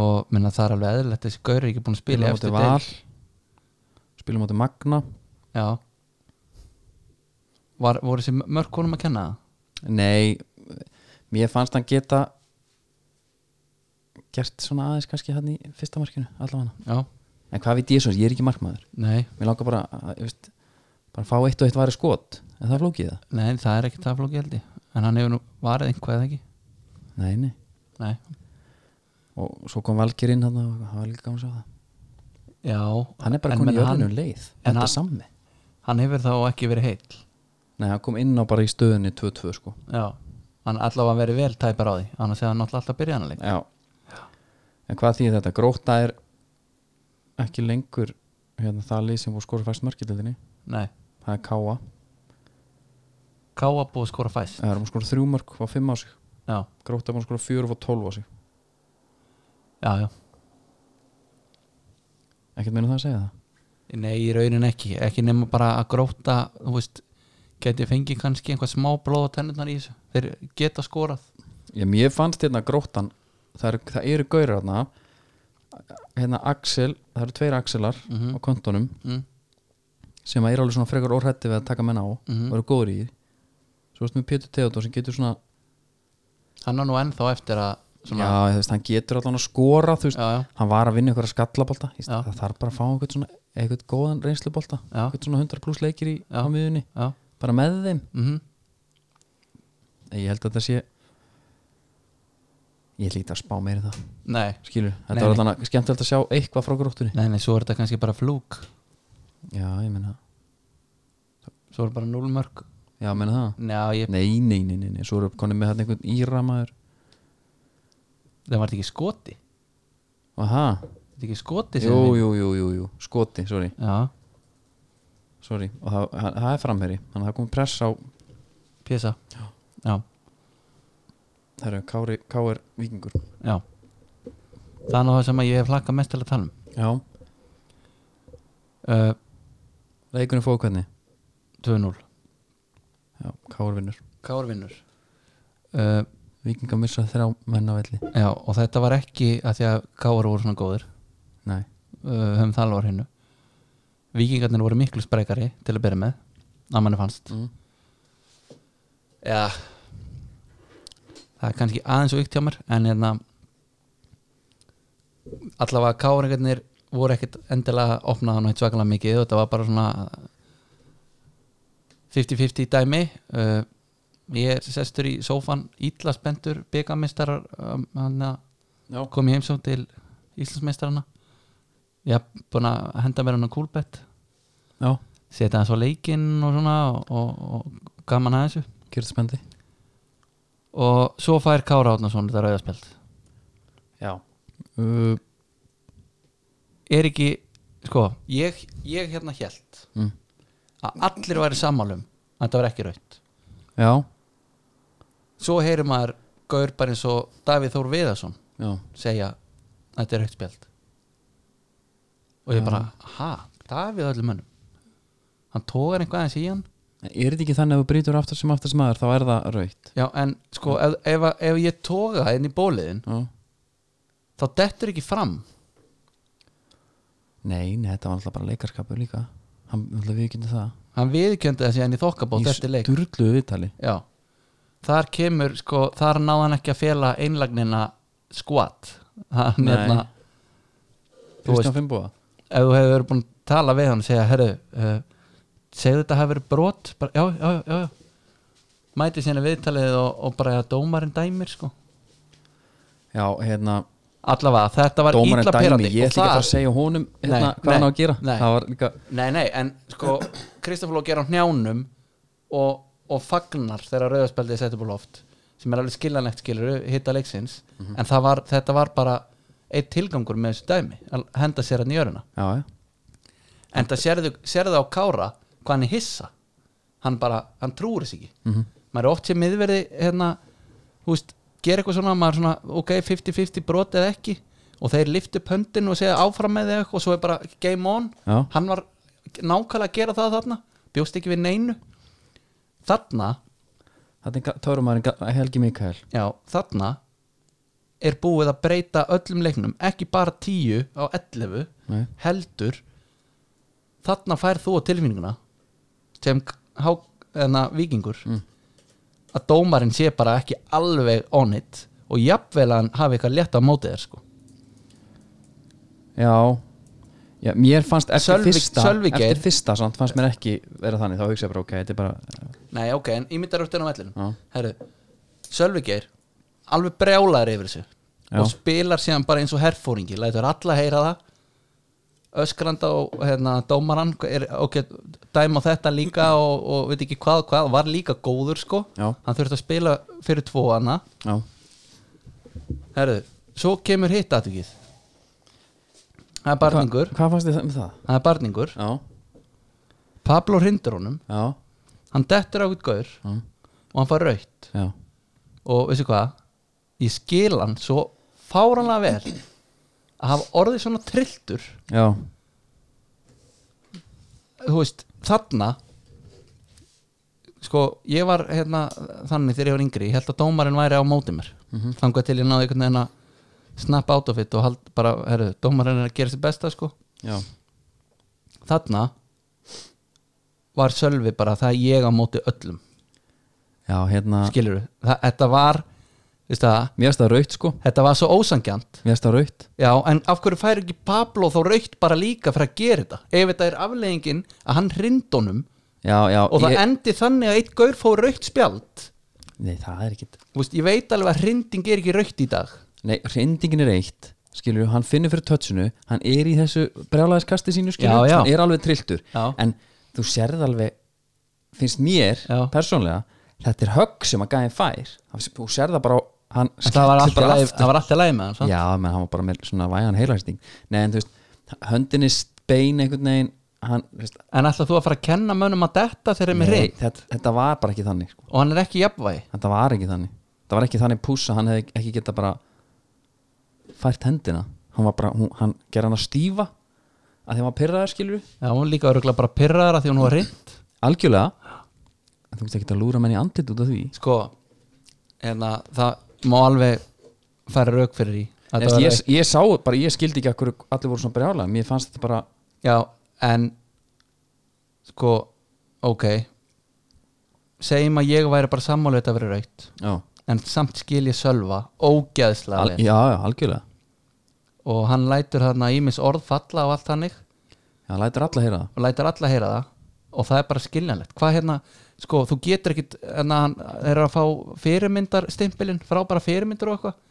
Speaker 2: og minna það er alveg eðlilegt þessi gaur er ekki búin að spila
Speaker 1: Spila á
Speaker 2: í efstu
Speaker 1: móti
Speaker 2: deild.
Speaker 1: Val Spila á móti Magna
Speaker 2: já Var, voru þessi mörg konum að kenna það?
Speaker 1: Nei, mér fannst hann geta gert svona aðeins kannski hann í fyrsta markinu allavega
Speaker 2: já,
Speaker 1: En hvað veit ég svo, ég er ekki markmaður
Speaker 2: nei,
Speaker 1: Mér langar bara að, ég veist bara að fá eitt og eitt væri skot En það flókið það
Speaker 2: nei, það er ekki það flóki held ég en hann hefur nú varið eitthvað eða ekki
Speaker 1: Nei, nei
Speaker 2: nei,
Speaker 1: Og svo kom Valgir inn hann og það var líka gaman að sjá það
Speaker 2: já,
Speaker 1: Hann er bara
Speaker 2: En
Speaker 1: komin í
Speaker 2: menn hann-
Speaker 1: öðrunum leið
Speaker 2: en
Speaker 1: Þetta
Speaker 2: hann-
Speaker 1: er sammi
Speaker 2: hann hefur þá ekki verið heill
Speaker 1: Nei, hann kom inn á bara í stöðunni 2-2 sko
Speaker 2: já, hann allavega verið vel tæpar á því annars hefði hann náttúrulega alltaf byrjað hann leik
Speaker 1: Já En hvað þýðir þetta? Gróta er ekki lengur hérna, það lið sem voru skora fæst mörkildinni
Speaker 2: nei,
Speaker 1: það er Káa
Speaker 2: Káa búið að skora fæst
Speaker 1: það er maður skora þrjú mörk og fimm á sig
Speaker 2: já,
Speaker 1: Gróta er maður skora fjör og tólf á sig
Speaker 2: já, já
Speaker 1: ekkert meina það að segja það
Speaker 2: Nei, í raunin ekki, ekki nema bara að gróta þú veist, geti fengið kannski einhvað smá blóð á tennurnar í þessu þeir geta skorað
Speaker 1: Já, mér fannst hérna Grótan það eru, það eru gaurar hérna hérna Axel, það eru tveir Axelar
Speaker 2: Mhm.
Speaker 1: á kontunum
Speaker 2: mm,
Speaker 1: sem eru alveg svona frekar orðrætti við að taka menn á
Speaker 2: Mhm.
Speaker 1: og eru góður í því svo veist með Pétur Teodó sem getur svona,
Speaker 2: Hann er nú ennþá eftir að svona,
Speaker 1: já, þú veist, hann getur allan að skora þú veist,
Speaker 2: já, já,
Speaker 1: hann var að vinna ykkur að skallabolta í
Speaker 2: Já.
Speaker 1: stað- það þarf bara að fá einhvern svona einhvern góðan reynslubolta
Speaker 2: Já.
Speaker 1: einhvern svona 100 pluss leikir í
Speaker 2: Já.
Speaker 1: hamiðunni
Speaker 2: já.
Speaker 1: bara með þeim
Speaker 2: Mm
Speaker 1: ég held að þetta sé ég líti að spá meiri það
Speaker 2: Nei,
Speaker 1: skilur,
Speaker 2: Nei,
Speaker 1: þetta var
Speaker 2: nei.
Speaker 1: alltaf skemmtilegt að sjá eitthvað frá gróttunni
Speaker 2: nei, nei, svo er þetta kannski bara flúk
Speaker 1: já, ég meina það
Speaker 2: svo er bara núlmörk
Speaker 1: já, meina það
Speaker 2: Já, ég,
Speaker 1: nei, nei, nei, nei, nei, svo eru konið með þarna einhvern íramaður
Speaker 2: það var ekki skoti
Speaker 1: og það,
Speaker 2: þetta ekki skoti sem
Speaker 1: jú,
Speaker 2: við-
Speaker 1: jú, jú, jú, jú skoti, sorry,
Speaker 2: Já,
Speaker 1: sorry og það, það, það er framherri, þannig að það kom press á
Speaker 2: pjesa Já,
Speaker 1: það eru Kári, Káir Víkingur
Speaker 2: já Það er nú það sem að ég hef hlakka mest til að tala um
Speaker 1: já,
Speaker 2: uh,
Speaker 1: leikunum fóðu hvernig
Speaker 2: 2-0,
Speaker 1: já, Káir vinnur
Speaker 2: Kárvinnur uh,
Speaker 1: Víkingar missa þrjá menn á velli
Speaker 2: Já, og þetta var ekki að því að Káar voru svona góðir
Speaker 1: Nei,
Speaker 2: uh, höfum það alvar hinnu Víkingarnir voru miklu sprekari til að byrja með að manni fannst
Speaker 1: mm.
Speaker 2: Já Það er kannski aðeins og ykt hjá mér en hérna allavega káringarnir voru ekkit endilega opnað hann eitt svakalega mikið og þetta var bara svona 50-50 dæmi uh, ég er sestur í sófan ítla spendur byggamistarar um, hann að
Speaker 1: Já,
Speaker 2: kom ég heimsókn til Íslandsmeistarana ég hef búin að henda mér hann að kúlbett
Speaker 1: já
Speaker 2: setja hann svo leikinn og svona og, og, og gaman að þessu
Speaker 1: kjörðspendi
Speaker 2: og svo fær Kára Átnason þetta rauðaspjald
Speaker 1: Já uh,
Speaker 2: er ekki, sko ég, ég hérna hélt
Speaker 1: mm.
Speaker 2: að allir væri sammálum að þetta var ekki rautt
Speaker 1: Já,
Speaker 2: svo heyrir maður gaur bara eins og Davíð Þór Viðarsson
Speaker 1: já
Speaker 2: segja að þetta er rautt spjald og ég
Speaker 1: Já.
Speaker 2: bara, ha, Davíð öllum mönnum hann tógar einhvað aðeins í hann
Speaker 1: En Er þetta ekki þannig að þú brýtur aftur sem aftur sem aður þá er það raukt
Speaker 2: Já, en sko, ef, ef, að- ef ég toga það inn í bóliðin,
Speaker 1: Já
Speaker 2: þá dettur ekki fram
Speaker 1: Nei, nei, þetta var alltaf bara leikarskapur líka Hann alltaf viðkynni það
Speaker 2: hann viðkjöndi þessi enn í þokkabóð þetta leik,
Speaker 1: sturlu viðtali
Speaker 2: já þar kemur, sko, þar náði hann ekki að fela einlagnina skvatt hann
Speaker 1: Nei.
Speaker 2: hérna Þú
Speaker 1: Kristján Fimboða
Speaker 2: ef þú hefur verið búin að tala við hann og segja, herru, uh, segðu þetta hafi verið brot, bara, já, já, já, já mæti sérna viðtalið og, og bara að dómarinn dæmir, sko
Speaker 1: Já, hérna
Speaker 2: allavega, þetta var
Speaker 1: Dómarinn
Speaker 2: illa
Speaker 1: dæmi,
Speaker 2: perandi
Speaker 1: ég ætla ekki að fara að segja honum hérna,
Speaker 2: Nei,
Speaker 1: hvað hann á
Speaker 2: nei,
Speaker 1: að gera
Speaker 2: nei.
Speaker 1: Það var líka
Speaker 2: Nei, nei, en sko Kristoffer Lók er á hnjánum og, og fagnar þegar rauðarspjaldið er setja upp á loft sem er alveg skiljanlegt skilur hitta leiksins en það var, þetta var bara eitt tilgangur með þessu dæmi að henda sér hann í öruna
Speaker 1: Já, já
Speaker 2: en það sérðu, sérðu á Kára hvað hann er hissa hann bara, hann trúur þess ekki
Speaker 1: Mhm.
Speaker 2: maður er oft sem miðverði hérna, þú veist, gera eitthvað svona maður svona, ok, 50-50 brot eða ekki og þeir lift upp höndin og segja áfram með þig og svo er bara game on
Speaker 1: Já.
Speaker 2: hann var nákvæmlega að gera það þarna bjóst ekki við neinu þarna,
Speaker 1: Þannig törumæðurinn Helgi Mikael
Speaker 2: já, þarna er búið að breyta öllum leiknum ekki bara 10 á 11
Speaker 1: Nei.
Speaker 2: heldur þarna fær þú á tilfinninguna sem há, enna, vikingur að dómarinn sé bara ekki alveg on it og jafnvel að hann hafi eitthvað létt á mótið þér sko
Speaker 1: Já, já mér fannst eftir
Speaker 2: Sölvi-
Speaker 1: fyrsta
Speaker 2: Sölvi Geir.
Speaker 1: Eftir fyrsta samt fannst mér ekki vera þannig Þá hugsa ég bara ok, þetta er bara
Speaker 2: Nei, ok, en ímyndar öftin á
Speaker 1: Já.
Speaker 2: vellinum Herru, Sölvi Geir alveg brjálaður yfir þessu
Speaker 1: Já.
Speaker 2: og spilar síðan bara eins og herfóringi lætur alla heyra það öskranda og hérna, dómaran er, ok, dæma þetta líka og, og veit ekki hvað, hvað, var líka góður sko,
Speaker 1: Já.
Speaker 2: hann þurfti að spila fyrir tvo hana,
Speaker 1: Já,
Speaker 2: herru svo kemur hitt aðtökið það er barningur
Speaker 1: Hva, Hvað fannst þið um það?
Speaker 2: það er barningur,
Speaker 1: Já,
Speaker 2: Pablo hrindur honum
Speaker 1: já,
Speaker 2: hann dettur á hvít gaur
Speaker 1: já,
Speaker 2: og hann fær rautt
Speaker 1: já.
Speaker 2: og veistu hvað ég skil hann svo fáranlega vel að hafa orðið svona trilltur
Speaker 1: já.
Speaker 2: þú veist, þarna sko, ég var hérna þannig þegar ég var yngri, ég held að dómarinn væri á móti mér, þangað til ég náði einhvern veginn að snappa out of it og hald bara, herru, dómarinn er að gera sér besta sko
Speaker 1: já.
Speaker 2: þarna var sölvi bara það er ég á móti öllum,
Speaker 1: já hérna
Speaker 2: skilur við þetta var, veist það
Speaker 1: Mér finnst það raut sko
Speaker 2: þetta var svo ósangjant
Speaker 1: Mér finnst það raut
Speaker 2: Já, en af hverju fær ekki Pablo þá raukt bara líka fyrir að gera þetta ef þetta er afleggingin að hann hrindunum
Speaker 1: Já, já
Speaker 2: og það
Speaker 1: ég,
Speaker 2: endi þannig að eitt gaur fór raukt spjald
Speaker 1: Nei, það er ekkit
Speaker 2: Þú veist, ég veit alveg að hrinding er ekki raukt í dag
Speaker 1: Nei, reyndingin er eitt Skilur, hann finnur fyrir tötsinu Hann er í þessu brjálæðiskasti sínu skilur
Speaker 2: Já, já.
Speaker 1: Hann er alveg trilltur
Speaker 2: Já.
Speaker 1: En þú sérð alveg Finnst mér,
Speaker 2: Já.
Speaker 1: persónlega Þetta er högg sem að gæðin fær Hann- Þú sérð það bara á- Hann
Speaker 2: En það
Speaker 1: skellir
Speaker 2: var alltaf
Speaker 1: bara
Speaker 2: læg,
Speaker 1: aftur.
Speaker 2: það var alltaf læg með hann svo.
Speaker 1: Já, menn hann var bara með svona vægan heilæsting Nei, en þú veist, höndinni bein einhvern veginn hann, þú veist,
Speaker 2: En alltaf þú að fara að kenna mönnum að detta þegar þeim er
Speaker 1: nei,
Speaker 2: reynd
Speaker 1: þetta, þetta var bara ekki þannig sko.
Speaker 2: og hann er ekki jafnvægi
Speaker 1: Þetta var ekki þannig Þetta var ekki þannig pússa, hann hefði ekki geta bara fært hendina Hann var bara, hún, hann gerði hann að stífa að þeim var pyrraðar skilur
Speaker 2: Já, hún er líka örgulega bara pyrraðara því hún var reynd
Speaker 1: Algjörlega En Þú veist ekki að lúra menn í andlit út af því
Speaker 2: Sko, hérna, það má alveg færa rauk fyrir því Þetta
Speaker 1: Nei, veist,
Speaker 2: var
Speaker 1: ég, ég sá bara, ég skildi ekki akkur allir voru svona brjála, mér fannst þetta bara
Speaker 2: Já, en sko, ok segjum að ég væri bara sammála þetta að vera raukt
Speaker 1: Já,
Speaker 2: en samt skil ég sölva ógeðslega
Speaker 1: al,
Speaker 2: vel.
Speaker 1: já, já algjörlega
Speaker 2: og hann lætur þarna ímis orð falla og allt hannig
Speaker 1: Já, lætur alla heyra það
Speaker 2: og lætur alla heyra það og það er bara skiljanlegt hvað hérna, sko, þú getur ekkit en að hann er að fá fyrirmyndar stimpilinn, frábæra fyrirmyndir og eitthvað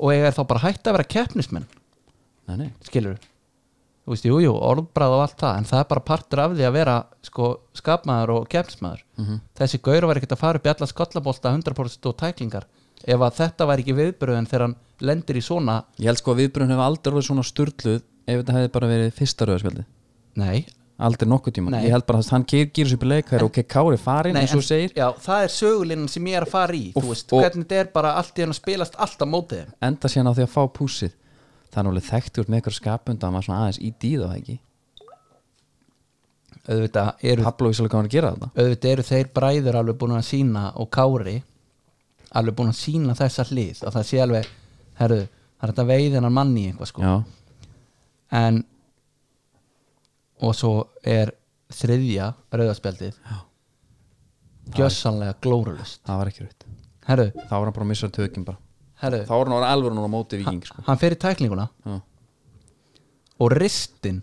Speaker 2: og ég er þá bara hætt að vera keppnismenn
Speaker 1: Nei, nei,
Speaker 2: skilur þú veist, jújú, jú, orðbræð og allt það en það er bara partur af því að vera sko, skapmaður og kemsmaður þessi gaur var ekkert að fara upp í alla skollabolta 100% og tæklingar ef að þetta var ekki viðbröðin þegar hann lendir í svona
Speaker 1: Ég held sko að viðbrun hefur aldrei orðið svona sturluð ef þetta hefði bara verið fyrsta rauðarspjaldi
Speaker 2: nei,
Speaker 1: aldrei nokkuð tíma,
Speaker 2: Nei.
Speaker 1: ég held bara að hann gerir gýr upp í leik, það er ok, Kári farin
Speaker 2: nei
Speaker 1: eins og þú
Speaker 2: en-
Speaker 1: segir,
Speaker 2: já, það er sögulinn sem ég er að fara í
Speaker 1: Og-
Speaker 2: þú veist,
Speaker 1: og-
Speaker 2: hvernig þetta er bara allt í hann að spilast allt á mótið þeim
Speaker 1: enda síðan á því að fá pússið það er náttúrulega þekkt úr með eitthvað skapund að maður svona aðeins í dýða það ekki
Speaker 2: auðvitað eru
Speaker 1: Pablo vissi alveg hvað hann er að gera þetta
Speaker 2: auðvitað eru þeir bræður alveg búin að sína og Kári alveg búin að sína þessa hlið og það sé alveg, herru, það er þetta veiðinan manni í eitthvað sko
Speaker 1: Já,
Speaker 2: en og svo er þriðja rauðaspjaldið gjössanlega glórulust
Speaker 1: það var ekki rauðt
Speaker 2: herru,
Speaker 1: þá var hann bara að missa tökin bara
Speaker 2: herru
Speaker 1: þá var hann alveg núna á móti viking sko.
Speaker 2: hann fer í tæklinguna
Speaker 1: Já.
Speaker 2: og ristin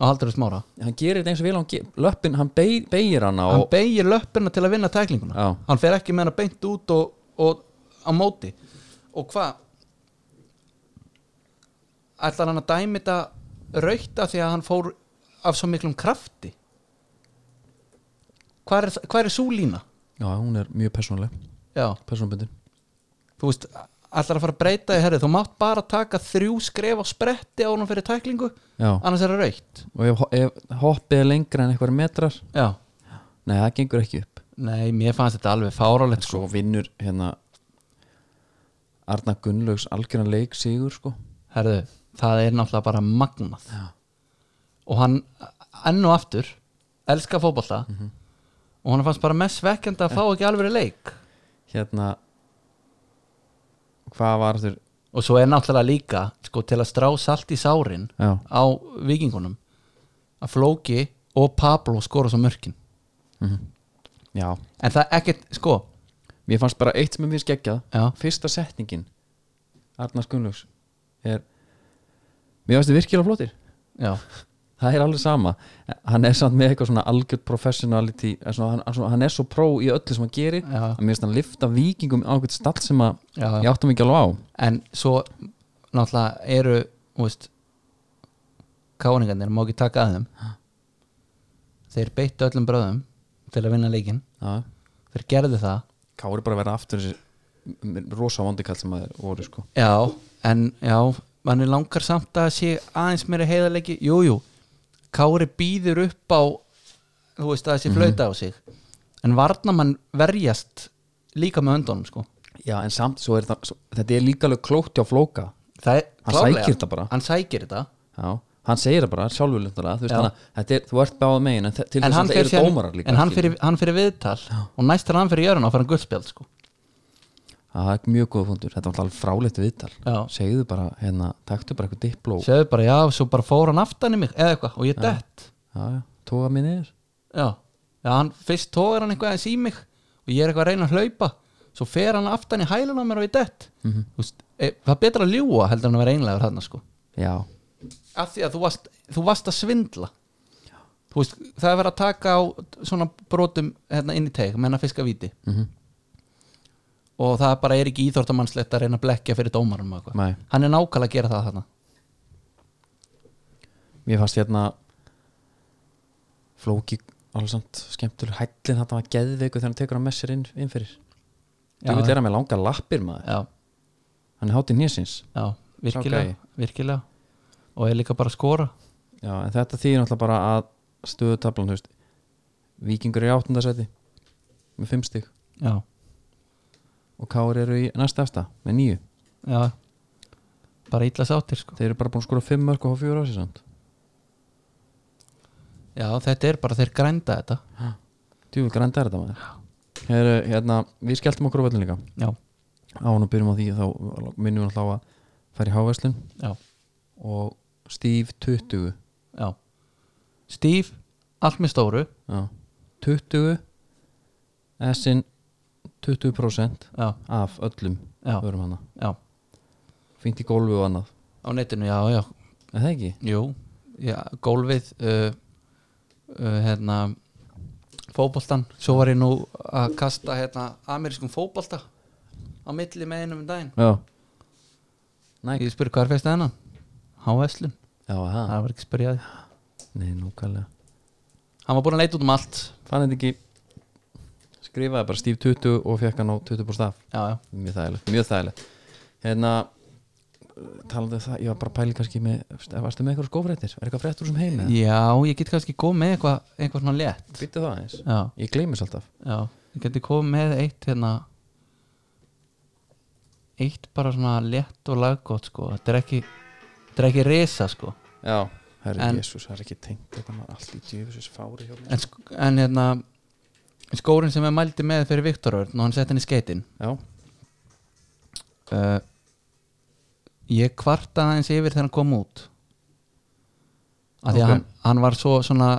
Speaker 2: á Halldóru Smára
Speaker 1: hann gerir þetta eins og vel og hann ge- löppin, hann beig, beigir hann
Speaker 2: hann
Speaker 1: og
Speaker 2: beigir löppina til að vinna tæklinguna
Speaker 1: Já.
Speaker 2: hann fer ekki með hana beint út og, og á móti og hvað ætlar hann að dæmi þetta raukt af því að hann fór af svo miklum krafti hvað er, hvað er svo lína?
Speaker 1: já, hún er mjög persónuleg,
Speaker 2: Já,
Speaker 1: persónubundin
Speaker 2: þú veist, ætlar að fara að breyta því herri, þú mátt bara taka þrjú skref á spretti á hann fyrir tæklingu
Speaker 1: já,
Speaker 2: annars er það raukt
Speaker 1: og ef, ho- ef hoppið er lengra en eitthvað metrar
Speaker 2: Já,
Speaker 1: nei, það gengur ekki upp
Speaker 2: nei, mér fannst þetta alveg fárálegt sko.
Speaker 1: svo vinnur hérna Arna Gunnlaugs algjörna leik sigur sko
Speaker 2: herðu, það er náttúrulega bara magnað
Speaker 1: Já.
Speaker 2: og hann enn og aftur elska fótbolta og hann fannst bara mest svekkjandi að fá ekki alveg leik
Speaker 1: hérna hvað var þurr
Speaker 2: og svo er náttúrulega líka sko, til að strá salt í sárin
Speaker 1: já,
Speaker 2: á vikingunum að Flóki og Pablo skora svo mörkin
Speaker 1: já,
Speaker 2: en það er ekkert, sko
Speaker 1: mér fannst bara eitt sem er mér skeggjað
Speaker 2: já,
Speaker 1: fyrsta setningin Arnars Gunnlaugs er mér finnst þið virkilega flottir
Speaker 2: já,
Speaker 1: það er alveg sama hann er samt með eitthvað svona algjörd professionality eh, svona, hann, svona, hann er svo pró í öllu sem hann gerir
Speaker 2: já,
Speaker 1: að mér finnst hann lifta vikingum á eitthvað stall sem að
Speaker 2: já, já.
Speaker 1: ég áttum ekki alveg á
Speaker 2: en svo náttúrulega eru þú veist káningarnir, má ekki taka að þeim þeir beittu öllum bröðum til að vinna leikinn
Speaker 1: já.
Speaker 2: þeir gerðu það
Speaker 1: Kári bara verða aftur þessi m- m- rosa vondikall sem að voru sko
Speaker 2: já, en já mann er langar samt að sé aðeins meira heiðarleiki jú, jú, Kári býður upp á þú veist
Speaker 1: Mhm.
Speaker 2: að þessi flauta á sig en varna mann verjast líka með höndunum sko
Speaker 1: já en samt svo er það, svo, þetta er líka alveg klókt hjá flóka
Speaker 2: það er
Speaker 1: Hann
Speaker 2: klárlega-
Speaker 1: sækir þetta bara.
Speaker 2: hann sækir þetta
Speaker 1: já hann segir það bara sjálfurlundara þú veist
Speaker 2: Já.
Speaker 1: hann að þetta er, þú ert báð megin en þe- til
Speaker 2: en
Speaker 1: þess
Speaker 2: hann
Speaker 1: að það
Speaker 2: fyrir,
Speaker 1: eru
Speaker 2: síðan-
Speaker 1: dómarar líka
Speaker 2: en hann
Speaker 1: skilur.
Speaker 2: fyrir, hann fyrir viðtal og næst þegar hann fyrir jörun á fyrir hann guldspjald sko.
Speaker 1: það er mjög góða fundur, þetta var alltaf fráleitt viðtal
Speaker 2: Já.
Speaker 1: segðu bara, hérna, taktu bara eitthvað dipló já,
Speaker 2: segðu bara já, svo bara fór hann aftan í mig eða eitthvað og ég dett
Speaker 1: já, tóka mig niður
Speaker 2: já. Já, hann, fyrst tóður hann eitthvað aðeins í mig og ég er eitthvað að reyna að hlaupa svo fer hann aftan í hælun á mér og ég dett mm
Speaker 1: Mhm.
Speaker 2: veist, e, það er betra að ljúa heldur hann að vera einlegur þarna sko
Speaker 1: já,
Speaker 2: af því að þú varst, þú varst að svindla þú veist, það er verið að taka á svona brotum hérna inn í teik menna fiska viti
Speaker 1: Mhm.
Speaker 2: og það bara er ekki íþórtamannslegt að reyna að blekja fyrir dómarum og eitthvað
Speaker 1: Nei.
Speaker 2: hann er nákvæmlega að gera það þarna
Speaker 1: mér fannst hérna flóki alveg samt skemmtuleg hællin þetta var geðveiku þegar hann tekur hann með sér inn, inn fyrir
Speaker 2: Já,
Speaker 1: þú vil er hann með langa lappir maður
Speaker 2: já,
Speaker 1: hann er hátinn nýsins
Speaker 2: já,
Speaker 1: Sá
Speaker 2: virkilega,
Speaker 1: gæi.
Speaker 2: virkilega og er líka bara að skora
Speaker 1: Já, en þetta þýðir náttúrulega bara að stöðutablan, þú veist Víkingur er í áttundasæti með fimm stig
Speaker 2: já,
Speaker 1: og Káur eru í næsta efsta með nýju
Speaker 2: já bara illa sáttir sko
Speaker 1: Þeir eru bara búin að skora fimm mörg og hafa fjögur á sig samt
Speaker 2: já, þetta er bara þeir grænda þetta
Speaker 1: Tjúfið grænda er þetta maður Heru, hérna, Við skelltum okkur á völlin líka
Speaker 2: já,
Speaker 1: á hann og byrjum á því þá minnum við alltaf að fara í háverslun
Speaker 2: já,
Speaker 1: og Steve 20
Speaker 2: já Steve, allt með stóru
Speaker 1: Já. 20 S-in 20%
Speaker 2: já,
Speaker 1: af öllum
Speaker 2: já,
Speaker 1: vörum hana
Speaker 2: já,
Speaker 1: fínt í gólfi og annað,
Speaker 2: á netinu, já, já
Speaker 1: er það ekki?
Speaker 2: jú, já, gólfið uh, uh, hérna fótboltan, svo var ég nú að kasta hérna amerískum fótbolta á milli með einum um daginn
Speaker 1: Já, Nei.
Speaker 2: ég spurði hvað er fyrst að hennan Háveslun,
Speaker 1: já það
Speaker 2: það var ekki spyrjaði
Speaker 1: Nei, núkvælega
Speaker 2: hann var búin að leita út um allt
Speaker 1: Fann þetta ekki Skrifaði bara Steve 20 og fekk hann á 20 búr staf
Speaker 2: já, já,
Speaker 1: Mjög þægilegt, mjög þægilegt Hérna Talandi um það, ég var bara að pæli kannski með Varstu með eitthvað skófréttir? Var eitthvað fréttur sem heim?
Speaker 2: já, ég get kannski komið með eitthvað eitthvað svona létt
Speaker 1: Býttu það eins
Speaker 2: já,
Speaker 1: Ég gleymis alltaf
Speaker 2: já, ég geti komið með eitt hérna eitt bara svona létt og laggótt sko, þetta er ekki þetta er ekki risa sko
Speaker 1: Já Herri
Speaker 2: En-
Speaker 1: en... Jésús, það er ekki tengt þetta maður allt í djöfisins fári hjá mér
Speaker 2: en, sk- en hérna skórin sem ég mældi með fyrir Viktor Örn og hann sett henni skeitin
Speaker 1: Já,
Speaker 2: uh, ég kvartaði aðeins yfir þegar hann kom út af því
Speaker 1: Ok.
Speaker 2: að hann, hann var svo svona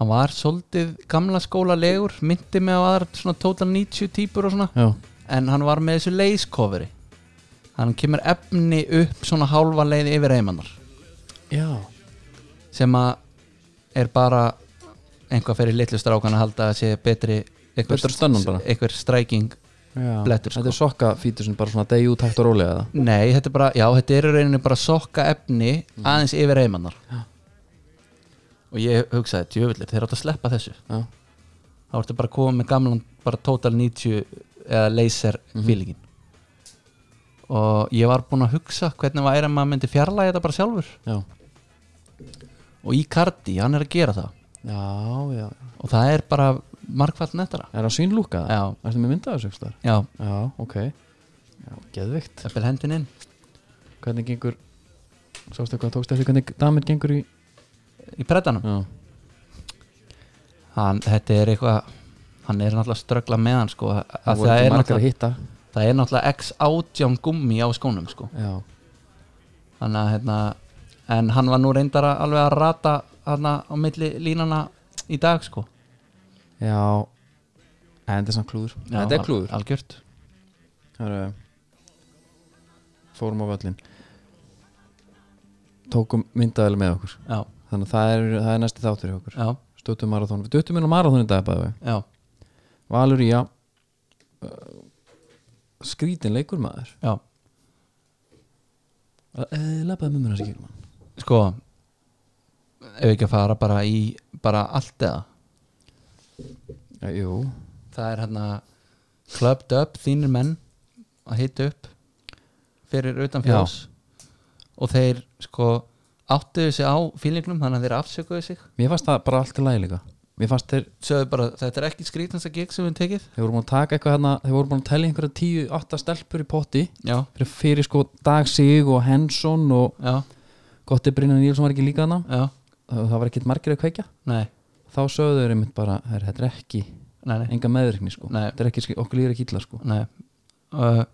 Speaker 2: hann var svolítið gamla skóla legur myndi með á aðra svona total 90 típur og svona
Speaker 1: já,
Speaker 2: en hann var með þessu leiskofri hann kemur efni upp svona hálfa leið yfir eimannar
Speaker 1: já.
Speaker 2: sem að er bara einhvað fyrir litlu strákan að halda að sé betri einhver,
Speaker 1: Betra stönnun bara.
Speaker 2: einhver stræking
Speaker 1: já.
Speaker 2: Blettur, sko.
Speaker 1: Þetta er sokka sem bara svona degi út hægt og rólega eða
Speaker 2: nei, þetta er bara, já, þetta er í rauninni bara sokka efni aðeins yfir eimannar
Speaker 1: Mhm. Já.
Speaker 2: og ég hugsaði, djöfullir, þeir átt að sleppa þessu
Speaker 1: Já,
Speaker 2: þá ertu bara að koma með gamlan bara total 90 eða laser
Speaker 1: Mhm.
Speaker 2: feelingin og ég var búinn að hugsa hvernig væri að maður myndi fjarlæga þetta bara sjálfur
Speaker 1: já,
Speaker 2: og Icardi, hann er að gera það
Speaker 1: já, já.
Speaker 2: og það er bara markvælt nettara
Speaker 1: Er það svínlúka?
Speaker 2: já,
Speaker 1: Ertu með myndaðu sjöfstar?
Speaker 2: já,
Speaker 1: Já, ok Já, geðvikt
Speaker 2: Jafnvel hendin inn
Speaker 1: Hvernig gengur Sástu hvað tókst eftir hvernig damir gengur í
Speaker 2: í preddanum
Speaker 1: já,
Speaker 2: hann, þetta er eitthvað hann er náttúrulega að ströggla með hann sko, að
Speaker 1: það
Speaker 2: það,
Speaker 1: voru
Speaker 2: það,
Speaker 1: ekki
Speaker 2: er
Speaker 1: margar að
Speaker 2: náttúrulega-
Speaker 1: hitta
Speaker 2: það er náttúrulega x-átján gummi á skónum sko.
Speaker 1: já,
Speaker 2: þannig að hérna, en hann var nú reyndar að- alveg að rata hérna, á milli línana í dag sko.
Speaker 1: já en þetta er samt klúður
Speaker 2: Já,
Speaker 1: þetta
Speaker 2: al-
Speaker 1: er klúður
Speaker 2: algjört
Speaker 1: Hörru, eh, fórum á völlin tókum myndaðal með okkur
Speaker 2: já,
Speaker 1: þannig að það er, það er næsti þáttur í okkur
Speaker 2: já,
Speaker 1: stöttum marathón, við duttum inn á marathón í dag bæði.
Speaker 2: já,
Speaker 1: Valur í að uh, skrítin leikur maður
Speaker 2: já
Speaker 1: lappaði Eh, með mér hans í kýrum hann
Speaker 2: sko ef við ekki að fara bara í bara allt eða
Speaker 1: Eh, jú,
Speaker 2: það er hérna clubbed up þínir menn að hita upp fyrir utan fjárs og þeir sko áttuðu sig á fílingnum þannig að þeir afsökuðu sig
Speaker 1: mér fannst það bara allt í lagi líka mér fannst þeir,
Speaker 2: sögðu bara þetta er ekki skrítnasta gig sem við höfum tekið
Speaker 1: þeir voru búin að taka eitthvað hérna þeir voru búin að telja einhverja tíu, átta stelpur í potti
Speaker 2: já,
Speaker 1: fyrir, fyrir sko Dag Sig og Henson og
Speaker 2: já,
Speaker 1: Gotti Brynjar Nílsson var ekki líka hana
Speaker 2: já,
Speaker 1: það það var ekkert margir að kveikja
Speaker 2: nei
Speaker 1: þá sögðu þeir einmitt bara, "Herra, þetta er ekki
Speaker 2: nei, nei,
Speaker 1: enga meðvirkni sko,
Speaker 2: Nei.
Speaker 1: þetta er ekki, skri- okkur líður ekki illa sko
Speaker 2: nei. Uh,